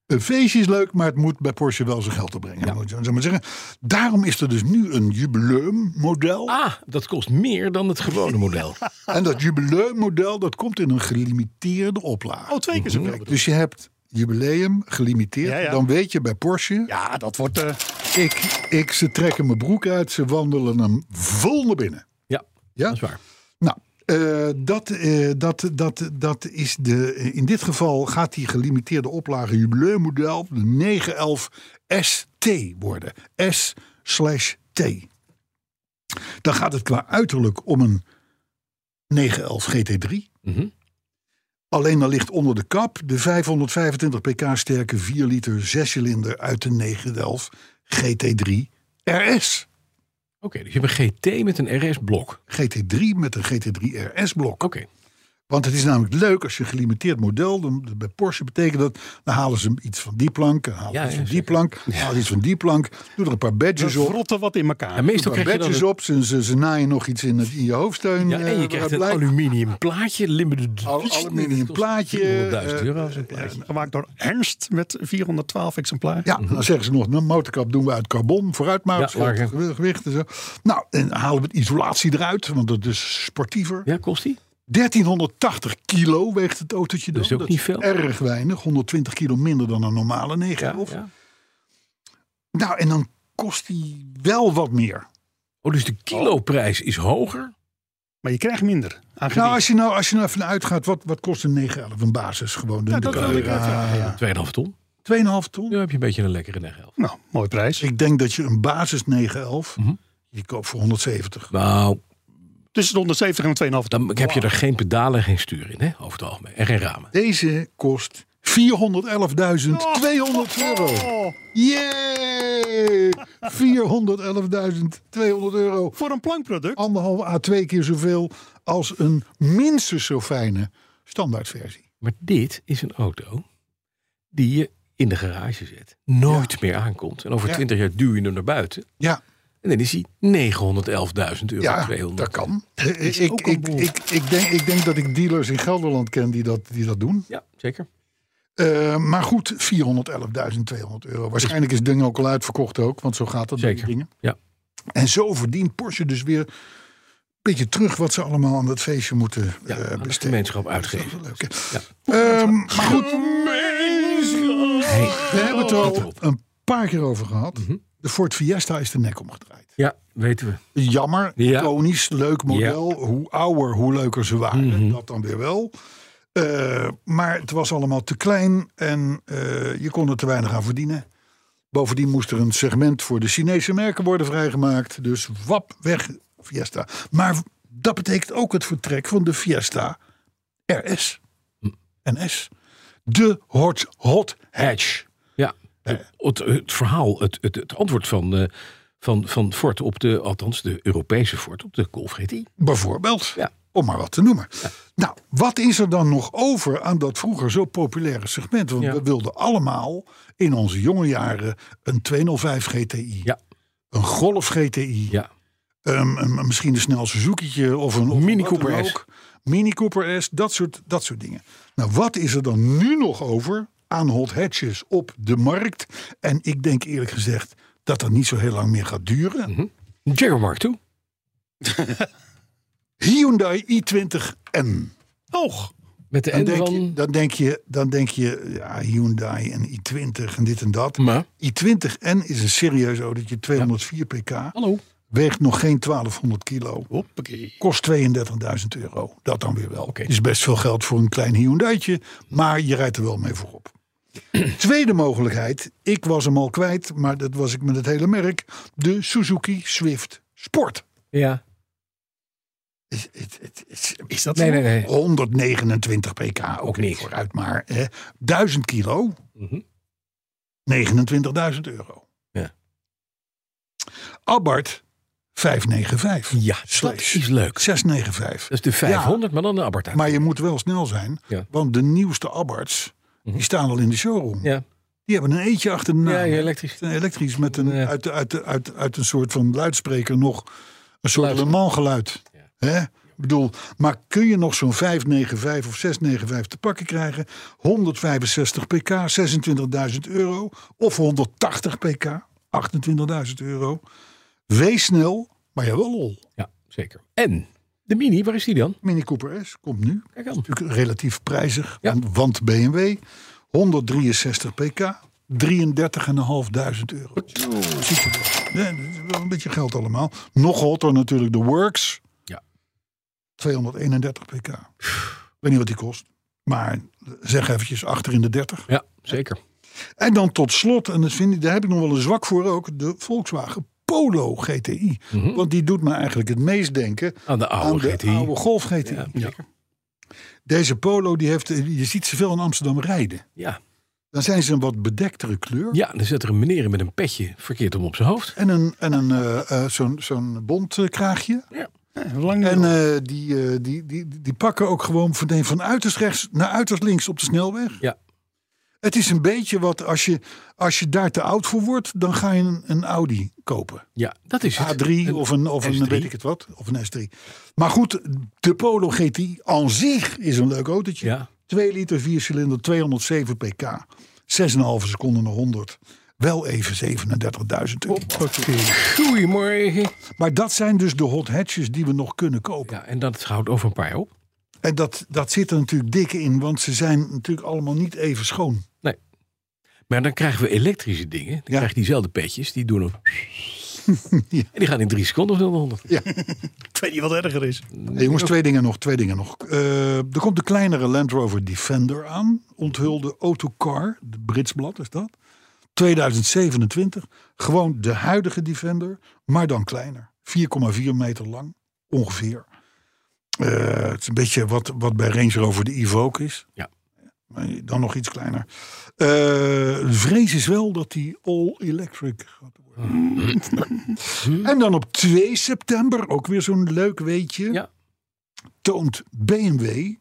S7: Een feestje is leuk, maar het moet bij Porsche wel zijn geld opbrengen. Moet je zo maar zeggen. Daarom is er dus nu een jubileummodel.
S3: Ah, dat kost meer dan het gewone model.
S7: En dat jubileummodel dat komt in een gelimiteerde oplage.
S5: Oh, twee keer zoveel. bedoel ik.
S7: Dus je hebt jubileum gelimiteerd.
S5: Ja, ja.
S7: Dan weet je bij Porsche,
S5: Ja, dat wordt... eh,
S7: Ik, ik, ze trekken mijn broek uit, ze wandelen hem vol naar binnen.
S3: Ja,
S7: Ja?
S3: dat is waar.
S7: Nou, eh, dat, eh, dat, dat, dat is de. In dit geval gaat die gelimiteerde oplage jubileummodel de 911 ST worden. S slash T. Dan gaat het qua uiterlijk om een 911 GT3.
S3: Mhm.
S7: Alleen dan ligt onder de kap de 525 pk sterke 4 liter 6-cilinder uit de 911 GT3 RS.
S3: Oké, dus je hebt een GT met een RS-blok.
S7: GT3 met een GT3 RS blok.
S3: Oké, nou,
S7: Want het is namelijk leuk als je een gelimiteerd model. dan- Bij Porsche betekent dat. dan halen ze iets van die plank. dan halen ze
S3: Ja,
S7: iets
S3: ja,
S7: van die
S3: zeker.
S7: plank. dan halen ze iets van die plank. Doe er een paar badges op. Doe
S5: rotten wat in elkaar.
S3: en meestal
S7: een
S3: krijg
S7: paar
S3: je dan
S7: badges
S3: een,
S7: op. Ze, ze, ze naaien nog iets in, het, in je hoofdsteun.
S3: ja, en
S7: eh,
S3: je krijgt een
S7: blijkt.
S3: aluminium plaatje. Limited
S7: Al-
S3: edition.
S7: aluminium
S3: Dat kost
S7: plaatje,
S3: 400.000
S7: eh,
S3: euro. zo'n plaatje.
S5: Gemaakt door Ernst met 412 exemplaren.
S7: Ja, dan zeggen ze nog, een motorkap doen we uit carbon, vooruit maar,
S3: Mhm. Ja,
S7: scheelt
S3: lager.
S7: gewi- gewicht en zo. Nou, en halen we de isolatie eruit, want dat is sportiever.
S3: Ja, kost die?
S7: 1380 kilo weegt het autootje dan.
S3: Dat is ook niet veel.
S7: erg weinig, 120 kilo minder dan een normale 9
S3: Ja,
S7: of
S3: ja.
S7: Nou, en dan kost die wel wat meer.
S3: Oh, dus de kiloprijs is hoger.
S5: Maar je krijgt minder. aan
S7: Nou,
S5: gewicht.
S7: als je nou, als je nou even uitgaat, wat, wat kost een 911 een basis? Gewoon de,
S5: Ja, dat
S7: de-
S5: wil ik net zeggen,
S7: ja,
S5: ja.
S3: 2,5 ton.
S7: 2,5 eh, ton. Dus
S3: Nu heb je een beetje een lekkere 911.
S5: Nou, mooie prijs.
S7: Ik denk dat je een basis 911,
S3: Mhm.
S7: die koopt voor 170.
S3: Nou,
S5: Tussen de 170 en de 2,5
S3: dan heb je er geen pedalen en geen stuur in, hè, over het algemeen. En geen ramen.
S7: Deze kost 411.200 euro.
S5: Oh,
S7: Yay! 411.200 euro.
S5: voor een plankproduct.
S7: Anderhalf à twee keer zoveel als een minstens zo fijne standaardversie.
S3: Maar dit is een auto die je in de garage zet. Nooit meer aankomt. En over
S7: Ja.
S3: 20 jaar duw je hem naar buiten.
S7: Ja,
S3: En dan is hij 911.000 euro.
S7: ja
S3: 200.
S7: dat kan. Eh, Ik,
S3: (laughs) is
S7: ik,
S3: ook een
S7: ik,
S3: boel.
S7: ik, ik denk, ik denk dat ik dealers in Gelderland ken die dat, die dat doen.
S3: Ja, zeker.
S7: Eh, maar goed, 411.200 euro. Waarschijnlijk is het ding ook al uitverkocht ook, want zo gaat dat bij die
S3: Zeker,
S7: dingen.
S3: ja.
S7: En zo verdient Porsche dus weer een beetje terug wat ze allemaal aan dat feestje moeten
S3: Ja,
S7: eh,
S3: aan de
S7: besteden.
S3: gemeenschap
S7: Dat
S3: uitgeven.
S7: is wel leuk, hè?
S3: Ja.
S7: Ehm, maar goed,
S3: Hey,
S7: we hebben het er
S3: let
S7: al
S3: op.
S7: een paar keer over gehad.
S3: Mhm.
S7: De Ford Fiesta is de nek omgedraaid.
S3: Ja, weten we.
S7: Jammer,
S3: Ja.
S7: iconisch, leuk model. Hoe ouder, hoe leuker ze waren.
S3: Mhm.
S7: Dat dan weer wel. Eh, maar het was allemaal te klein en eh, je kon er te weinig aan verdienen. Bovendien moest er een segment voor de Chinese merken worden vrijgemaakt. Dus wap, weg Fiesta. Maar dat betekent ook het vertrek van de Fiesta RS.
S3: Hm.
S7: NS. De hot, hot hatch.
S3: Ja, het, het, het verhaal, het, het, het antwoord van, eh, van, van Ford op de, althans de Europese Ford op de Golf GTI.
S7: Bijvoorbeeld.
S3: Ja.
S7: Om maar wat te noemen. Nou, wat is er dan nog over aan dat vroeger zo populaire segment? Want
S3: Ja.
S7: we wilden allemaal in onze jonge jaren een 205 GTI.
S3: Ja.
S7: Een Golf GTI.
S3: Ja,
S7: ehm, een- een- misschien een snel Suzuki'tje of een of
S3: Mini
S7: wat dan
S3: Cooper S.
S7: ook. Mini Cooper S, dat soort, dat soort dingen. Nou, wat is er dan nu nog over aan hot hatches op de markt? En ik denk eerlijk gezegd dat dat niet zo heel lang meer gaat duren.
S3: Mhm. Jaguar Mark II.
S7: Hyundai i20N.
S5: Hoog.
S3: Met de
S7: Dan
S3: N
S7: denk,
S3: van...
S7: je, dan denk je, dan denk je ja, Hyundai en i20 en dit en dat.
S3: Maar,
S7: i20N is een serieus autootje, 204 pk,
S3: hallo.
S7: weegt nog geen 1200 kilo,
S5: Hoppakee.
S7: kost 32.000 euro. Dat dan weer wel.
S3: Oké.
S7: Is best veel geld voor een klein Hyundaitje, maar je rijdt er wel mee voorop. Tweede mogelijkheid, ik was hem al kwijt, maar dat was ik met het hele merk, de Suzuki Swift Sport.
S3: Ja.
S7: Het- het- het- het-
S5: Is dat
S3: Nee, nee, nee.
S7: 129 pk, ook,
S3: Ook
S7: niet
S3: niks.
S7: vooruit maar. Hè. 1000 kilo,
S3: Mhm.
S7: 29.000 euro.
S3: Ja.
S7: Abarth 595.
S3: Ja, dat
S7: Slash
S3: is leuk.
S7: 695.
S3: Dat is de 500, maar dan de Abarth.
S7: Maar je moet wel snel zijn,
S3: Ja.
S7: want de nieuwste Abarths, die
S3: Mhm.
S7: staan al in de showroom.
S3: Ja.
S7: Die hebben een eentje achter de naam.
S3: Ja, ja, elektrisch.
S7: Een elektrisch met een,
S3: Ja.
S7: uit, uit, uit, uit een soort van luidspreker nog een soort Le
S3: Luister.
S7: Mans geluid.
S3: Ja.
S7: Hè? Ik bedoel, maar kun je nog zo'n 595 of 695 te pakken krijgen? 165 pk, 26.000 euro. Of 180 pk, 28.000 euro. Wees snel, maar je hebt wel lol.
S3: Ja, zeker. En de Mini, waar is die dan?
S7: Mini Cooper S komt nu.
S3: Kijk aan.
S7: Natuurlijk relatief prijzig,
S3: Ja.
S7: want, want BMW. 163 pk, 33.500 euro. Nee, dat is wel een beetje geld allemaal. Nog hotter natuurlijk de Works.
S3: Ja.
S7: 231 pk. Ik weet niet wat die kost. Maar zeg eventjes achter in de 30.
S3: Ja, zeker.
S7: En dan tot slot, en dat vind ik, daar heb ik nog wel een zwak voor ook, de Volkswagen Polo GTI. Want die doet me eigenlijk het meest denken
S3: Mhm. Aan de oude
S7: aan de
S3: GTI.
S7: oude Golf GTI.
S3: zeker.
S7: Deze Polo, die heeft, je ziet ze veel in Amsterdam rijden.
S3: Ja.
S7: Dan zijn ze een wat bedektere kleur.
S3: ja, dan zit er een meneer in met een petje verkeerd om op zijn hoofd.
S7: En, een, en een, eh, eh, zo'n, zo'n bont eh, kraagje.
S5: Lang
S7: En eh, die, eh, die, die, die pakken ook gewoon van, nee, van uiterst rechts naar uiterst links op de snelweg.
S3: Ja.
S7: Het is een beetje wat als je, als je daar te oud voor wordt, dan ga je een, een Audi kopen.
S3: Ja, dat is het.
S7: A3 of een, of een
S3: S3.
S7: weet ik het wat, of een S3. Maar goed, de Polo GTI aan zich is een leuk autootje.
S3: Ja.
S7: 2 liter 4 cilinder, 207 pk. 6,5 seconden naar 100. Wel even 37.000 euro.
S3: Goedemorgen.
S7: Maar dat zijn dus de hot hatches die we nog kunnen kopen.
S3: Ja, en dat houdt over een paar jaar op.
S7: En dat, dat zit er natuurlijk dik in, want ze zijn natuurlijk allemaal niet even schoon.
S3: Maar dan krijgen we elektrische dingen. Dan krijg je diezelfde petjes. Die
S7: (laughs)
S3: doen hem. En die gaan in drie seconden of zo naar 100.
S5: Ik weet niet wat erger is.
S7: Hey, jongens, twee dingen nog, twee dingen nog. Eh, er komt de kleinere Land Rover Defender aan. Onthulde Autocar, de Brits blad is dat. 2027. Gewoon de huidige Defender, maar dan kleiner. 4,4 meter lang, ongeveer. Eh, het is een beetje wat, wat bij Range Rover de Evoque is.
S3: Ja.
S7: Maar Dan nog iets kleiner. Eh, De vrees is wel dat die all-electric gaat worden. en dan op 2 september, ook weer zo'n leuk weetje
S3: Ja.
S7: toont BMW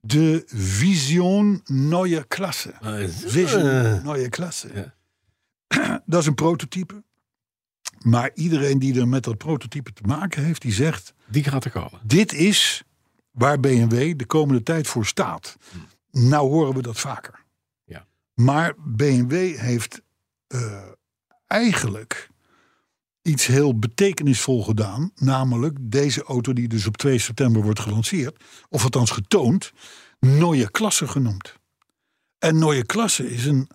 S7: de Vision Neue Klasse. Vision
S3: Eh,
S7: Neue Klasse. (clears throat) Dat is een prototype. Maar iedereen die er met dat prototype te maken heeft, die zegt:
S3: Die gaat er komen.
S7: Dit is waar BMW de komende tijd voor staat. Nou horen we dat vaker.
S3: Ja.
S7: Maar BMW heeft eh, eigenlijk iets heel betekenisvol gedaan. Namelijk deze auto die dus op 2 september wordt gelanceerd. Of althans getoond. Neue Klasse genoemd. En Neue Klasse is een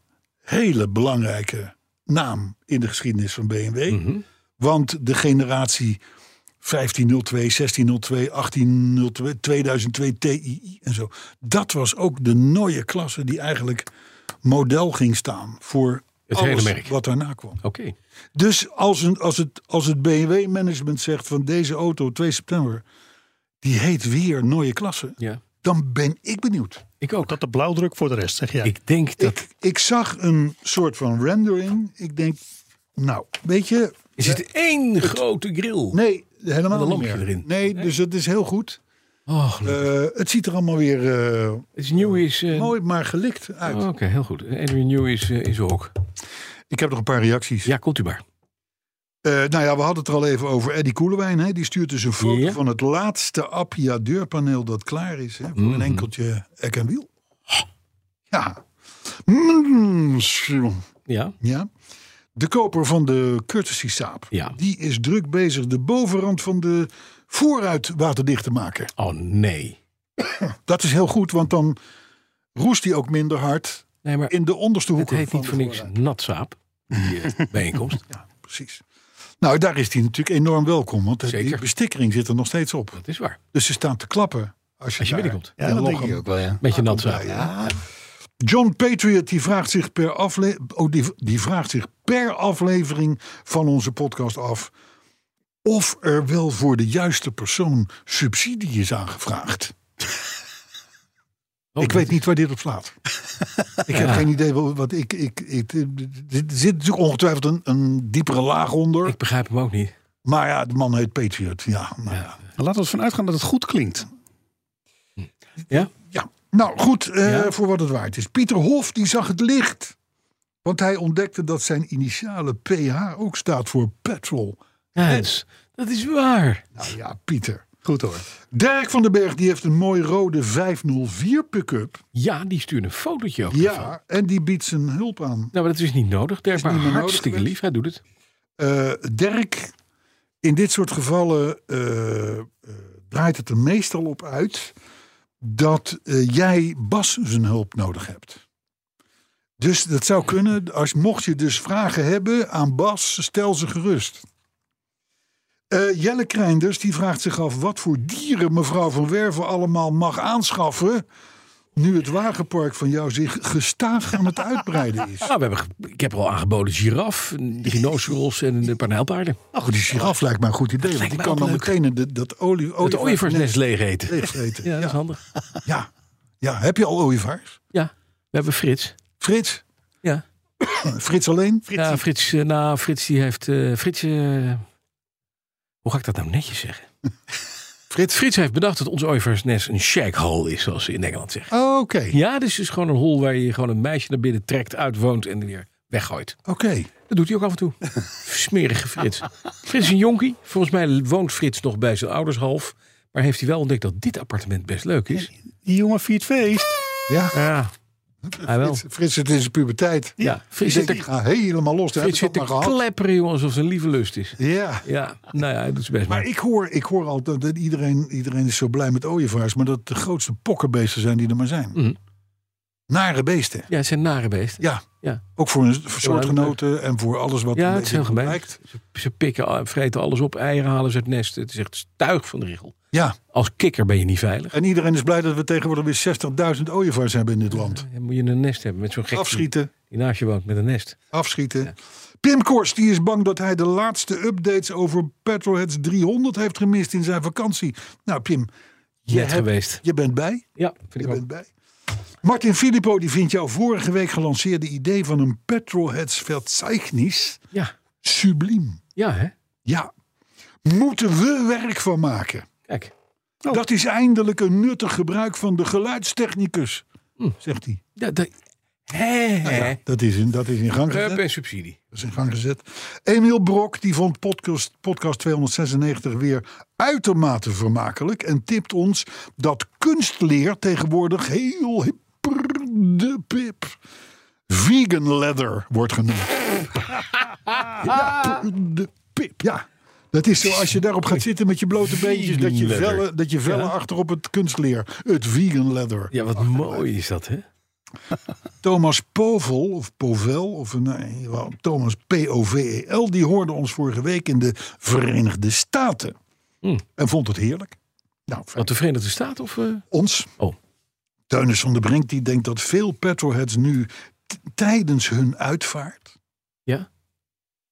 S7: hele belangrijke naam in de geschiedenis van BMW.
S3: Mhm.
S7: Want de generatie 1502, 1602, 1802, 2002 TII en zo. Dat was ook de Neue Klasse die eigenlijk model ging staan voor
S3: Het hele
S7: alles
S3: merk.
S7: wat daarna kwam.
S3: Oké.
S7: Dus als, een, als het, als het BMW-management zegt van deze auto 2 september, die heet weer Neue Klasse,
S3: Ja.
S7: dan ben ik benieuwd.
S3: Ik ook.
S5: Dat de blauwdruk voor de rest, zeg jij.
S3: Ik denk dat.
S7: Ik, ik zag een soort van rendering. Ik denk, nou, weet je,
S3: Is het één grote grill?
S7: nee, helemaal
S3: Met een
S7: niet
S3: lampje
S7: meer.
S3: erin.
S7: Nee, dus dat is heel goed.
S3: Oh, gelukkig.
S7: Eh, het ziet er allemaal weer eh,
S3: Het is nieuw is. eh, Oh,
S7: mooi, maar gelikt uit.
S3: Oké, heel goed. Edwin New is, eh, is ook.
S7: Ik heb nog een paar reacties.
S3: Ja, komt u maar.
S7: Eh, nou ja, we hadden het er al even over Eddie Koelewijn. Hè? Die stuurt dus een foto
S3: Ja.
S7: van het laatste Appia deurpaneel dat klaar is. Hè? Voor
S3: Mhm.
S7: een enkeltje ek en wiel. Ja. Mm, sjoe.
S3: Ja.
S7: Ja. De koper van de courtesy saap.
S3: Ja.
S7: Die is druk bezig de bovenrand van de voorruit waterdicht te maken.
S3: Oh nee.
S7: Dat is heel goed, want dan roest hij ook minder hard
S3: Nee, maar
S7: in de onderste
S3: het
S7: hoeken.
S3: heet
S7: van
S3: niet
S7: de
S3: voor niks
S7: voorruit.
S3: natsaap. Die
S7: (laughs)
S3: eh, bijeenkomst.
S7: Precies. Nou, daar is hij natuurlijk enorm welkom, want de die
S3: Zeker.
S7: bestikkering zit er nog steeds op.
S3: Dat is waar.
S7: Dus ze staan te klappen als je,
S3: Als je
S7: daar-
S3: binnenkomt.
S5: ja,
S7: Ja,
S5: dat
S7: log
S5: denk ik
S7: hem.
S5: ook wel, ja.
S3: Beetje natsaap.
S7: Ah, Ja. John Patriot die vraagt, zich per afle- oh, die, die vraagt zich per aflevering van onze podcast af... of er wel voor de juiste persoon subsidie is aangevraagd.
S3: Oh,
S7: ik weet niet waar dit op slaat. ik heb
S3: Ja.
S7: geen idee. wel- Wat ik, ik, ik, eh, er zit natuurlijk ongetwijfeld een, een diepere laag onder.
S3: Ik begrijp hem ook niet.
S7: maar ja, de man heet Patriot. Ja, nou ja.
S5: Laten we ervan uitgaan dat het goed klinkt.
S3: Ja?
S7: Ja, nou goed, eh,
S3: Ja.
S7: voor wat het waard is. Pieter Hof, die zag het licht. Want hij ontdekte dat zijn initiale PH ook staat voor petrol.
S3: Ja, dat is, dat is waar.
S7: Nou ja, Pieter.
S5: Goed hoor.
S7: Dirk van den Berg, die heeft een mooi rode 504 pick-up.
S3: Ja, die stuurde een fotootje ook. ervan.
S7: Ja, en die biedt zijn hulp aan.
S3: Nou, maar dat is niet nodig. Dirk, maar
S7: niet meer nodig
S3: hartstikke
S7: geweest.
S3: lief. Hij doet het.
S7: Eh, Dirk, in dit soort gevallen eh, eh, draait het er meestal op uit dat eh, jij Bas zijn hulp nodig hebt. Dus dat zou kunnen. Als, mocht je dus vragen hebben aan Bas, stel ze gerust. Eh, Jelle Kreinders die vraagt zich af wat voor dieren mevrouw van Werven allemaal mag aanschaffen. Nu het wagenpark van jou zich gestaag aan het uitbreiden is.
S3: Nou, we hebben, ge- ik heb er al aangeboden giraf, een rhinoceros en
S7: (laughs)
S3: een paar nijlpaarden.
S7: Nou, die giraf lijkt mij een goed idee. Want
S3: lijkt
S7: die
S3: mij
S7: kan
S3: ook
S7: dan
S3: leuk.
S7: meteen in de, dat olie,
S3: Het ooievaarsnest leeg eten.
S7: leeg
S3: (laughs)
S7: eten.
S3: Ja, dat is
S7: Ja,
S3: handig.
S7: ja. ja, heb je al ooievaars?
S3: Ja, we hebben Frits.
S7: Frits? Oh,
S3: Ja,
S7: Frits alleen?
S3: ja Frits, eh, nou, Frits die heeft... eh, Frits, eh, hoe ga ik dat nou netjes zeggen? Frits. Frits heeft bedacht dat ons ooievaarsnest een shag hole is, zoals ze in Engeland zeggen.
S7: Oh, Oké,
S3: Ja, dus het is gewoon een hol waar je gewoon een meisje naar binnen trekt, uitwoont en weer weggooit.
S7: oké.
S3: Dat doet hij ook af en toe. Smerige Frits. Frits is een jonkie. Volgens mij woont Frits nog bij zijn ouders half. Maar heeft hij wel ontdekt dat dit appartement best leuk is?
S5: Die jongen viert feest.
S7: Ja,
S3: Ja, hij wel.
S7: Frits, Frits zit in zijn puberteit.
S3: Ja,
S7: Die
S3: Frits zit
S7: denkt,
S3: te,
S7: ik ga helemaal los. Daar heb
S3: Frits
S7: ik het
S3: zit te
S7: maar gehad.
S3: klepperen, jongens, alsof zijn lieve lust is.
S7: Ja.
S3: Ja, nou ja, hij doet zijn best
S7: Maar
S3: maar.
S7: ik hoor, ik hoor altijd dat iedereen, iedereen is zo blij met ooievaars. Maar dat de grootste pokkenbeesten zijn die er maar zijn.
S3: Mhm.
S7: Nare beesten.
S3: Ja, het zijn nare beesten.
S7: Ja.
S3: Ja.
S7: Ook voor hun voor soortgenoten en voor alles wat
S3: Ja,
S7: een
S3: het
S7: beetje
S3: is heel gemeen.
S7: lijkt.
S3: Ze pikken, al- vreten alles op, eieren halen ze uit nesten. Het is echt stuig van de regel.
S7: Ja.
S3: Als kikker ben je niet veilig.
S7: En iedereen is blij dat we tegenwoordig weer 60.000 ooievaars hebben in dit land.
S3: Dan moet je een nest hebben met zo'n gek
S7: Afschieten,
S3: die naast je woont met een nest.
S7: afschieten. Pim Kors die is bang dat hij de laatste updates over Petrolheads 300 heeft gemist in zijn vakantie. Nou Pim, je,
S3: Net
S7: hebt-
S3: geweest.
S7: je bent bij.
S3: Ja, vind
S7: Je
S3: ik ook.
S7: bent bij. Martin Filippo die vindt jouw vorige week gelanceerde idee van een Petrolheads Verzeichnis
S3: Ja,
S7: subliem.
S3: ja hè?
S7: Ja, moeten we werk van maken.
S3: Kijk, Oh.
S7: Dat is eindelijk een nuttig gebruik van de geluidstechnicus,
S3: Hm.
S7: zegt hij.
S3: da, da, hè, hè.
S7: Nou Ja, dat, is in, dat is in gang gezet.
S3: Hup en subsidie.
S7: Dat is in gang gezet. Emiel Brok die vond podcast, podcast 296 weer uitermate vermakelijk. En tipt ons dat kunstleer tegenwoordig heel hipper de pip. Vegan leather wordt
S3: (laughs)
S7: genoemd. ja, per de pip. Ja. Dat is zo, als je daarop gaat zitten met je blote beentjes, dat je
S3: Vegan leather.
S7: vellen, dat je vellen achter op het kunstleer. Het vegan leather.
S3: Ja, wat mooi is dat, hè?
S7: Thomas Povel, of Povel, of een, eh, nee, wel, Thomas P-O-V-E-L, E die hoorde ons vorige week in de Verenigde Staten.
S3: Hm.
S7: En vond het heerlijk. Nou, fijn.
S3: Wat de Verenigde Staten of... eh,
S7: ons.
S3: Oh.
S7: Teunis van der Brink die denkt dat veel petrolheads nu t- tijdens hun uitvaart
S3: Ja.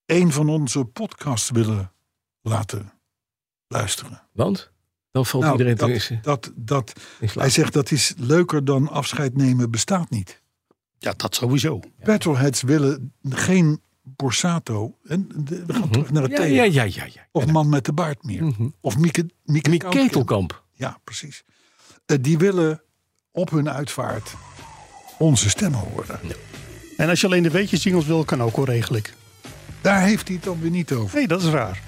S7: een van onze podcasts willen laten luisteren.
S3: Want? Dan valt
S7: Nou,
S3: iedereen
S7: dat,
S3: te missen.
S7: dat, dat,
S3: In slaap.
S7: hij zegt dat is leuker dan afscheid nemen bestaat niet.
S5: Ja, dat sowieso.
S7: Petrolheads willen geen Borsato. En de- we gaan terug naar het
S3: Ja,
S7: thema.
S3: ja, ja, ja. ja.
S7: Of man met de baard meer.
S3: Mhm.
S7: Of Mieke, Mieke,
S3: Mick
S7: Koutkamp.
S3: Ketelkamp.
S7: Ja, precies. Eh, die willen op hun uitvaart onze stemmen horen.
S5: En als je alleen de weetjes jingles wil, kan ook wel regelijk.
S7: Daar heeft hij het dan weer niet over.
S5: Nee, dat is raar.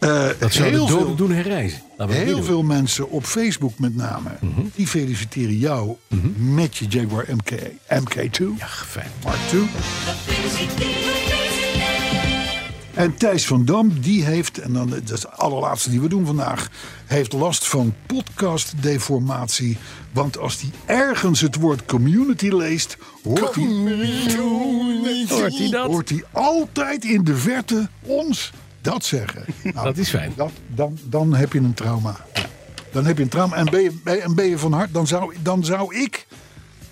S7: Eh,
S3: Dat zou
S7: heel
S3: de doden
S7: veel,
S3: doen herreizen. Laten we dat niet
S7: heel
S3: doen. Mhm.
S7: veel mensen op Facebook met name. Die feliciteren jou met je Jaguar MK, MK2.
S3: Ja, fijn.
S7: Mark II. En Thijs van Dam, die heeft, en dan dat is de allerlaatste die we doen vandaag, heeft last van podcastdeformatie. Want als hij ergens het woord community leest, hoort hij,
S3: Hoort hij dat?
S7: hoort hij altijd in de verte ons dat zeggen. Nou,
S3: (laughs) Dat is fijn.
S7: dat, dan, dan heb je een trauma. Dan heb je een trauma. En ben je, en ben je van hart, dan zou, dan zou ik,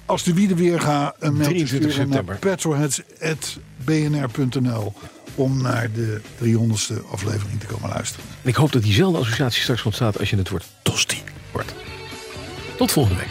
S7: als de wieden weer ga, een mailtje
S3: 23
S7: sturen naar
S3: september.
S7: petrolheads.bnr.nl om naar de 300ste aflevering te komen luisteren.
S3: En ik hoop dat diezelfde associatie straks ontstaat als je het woord tosti hoort. Tot volgende week.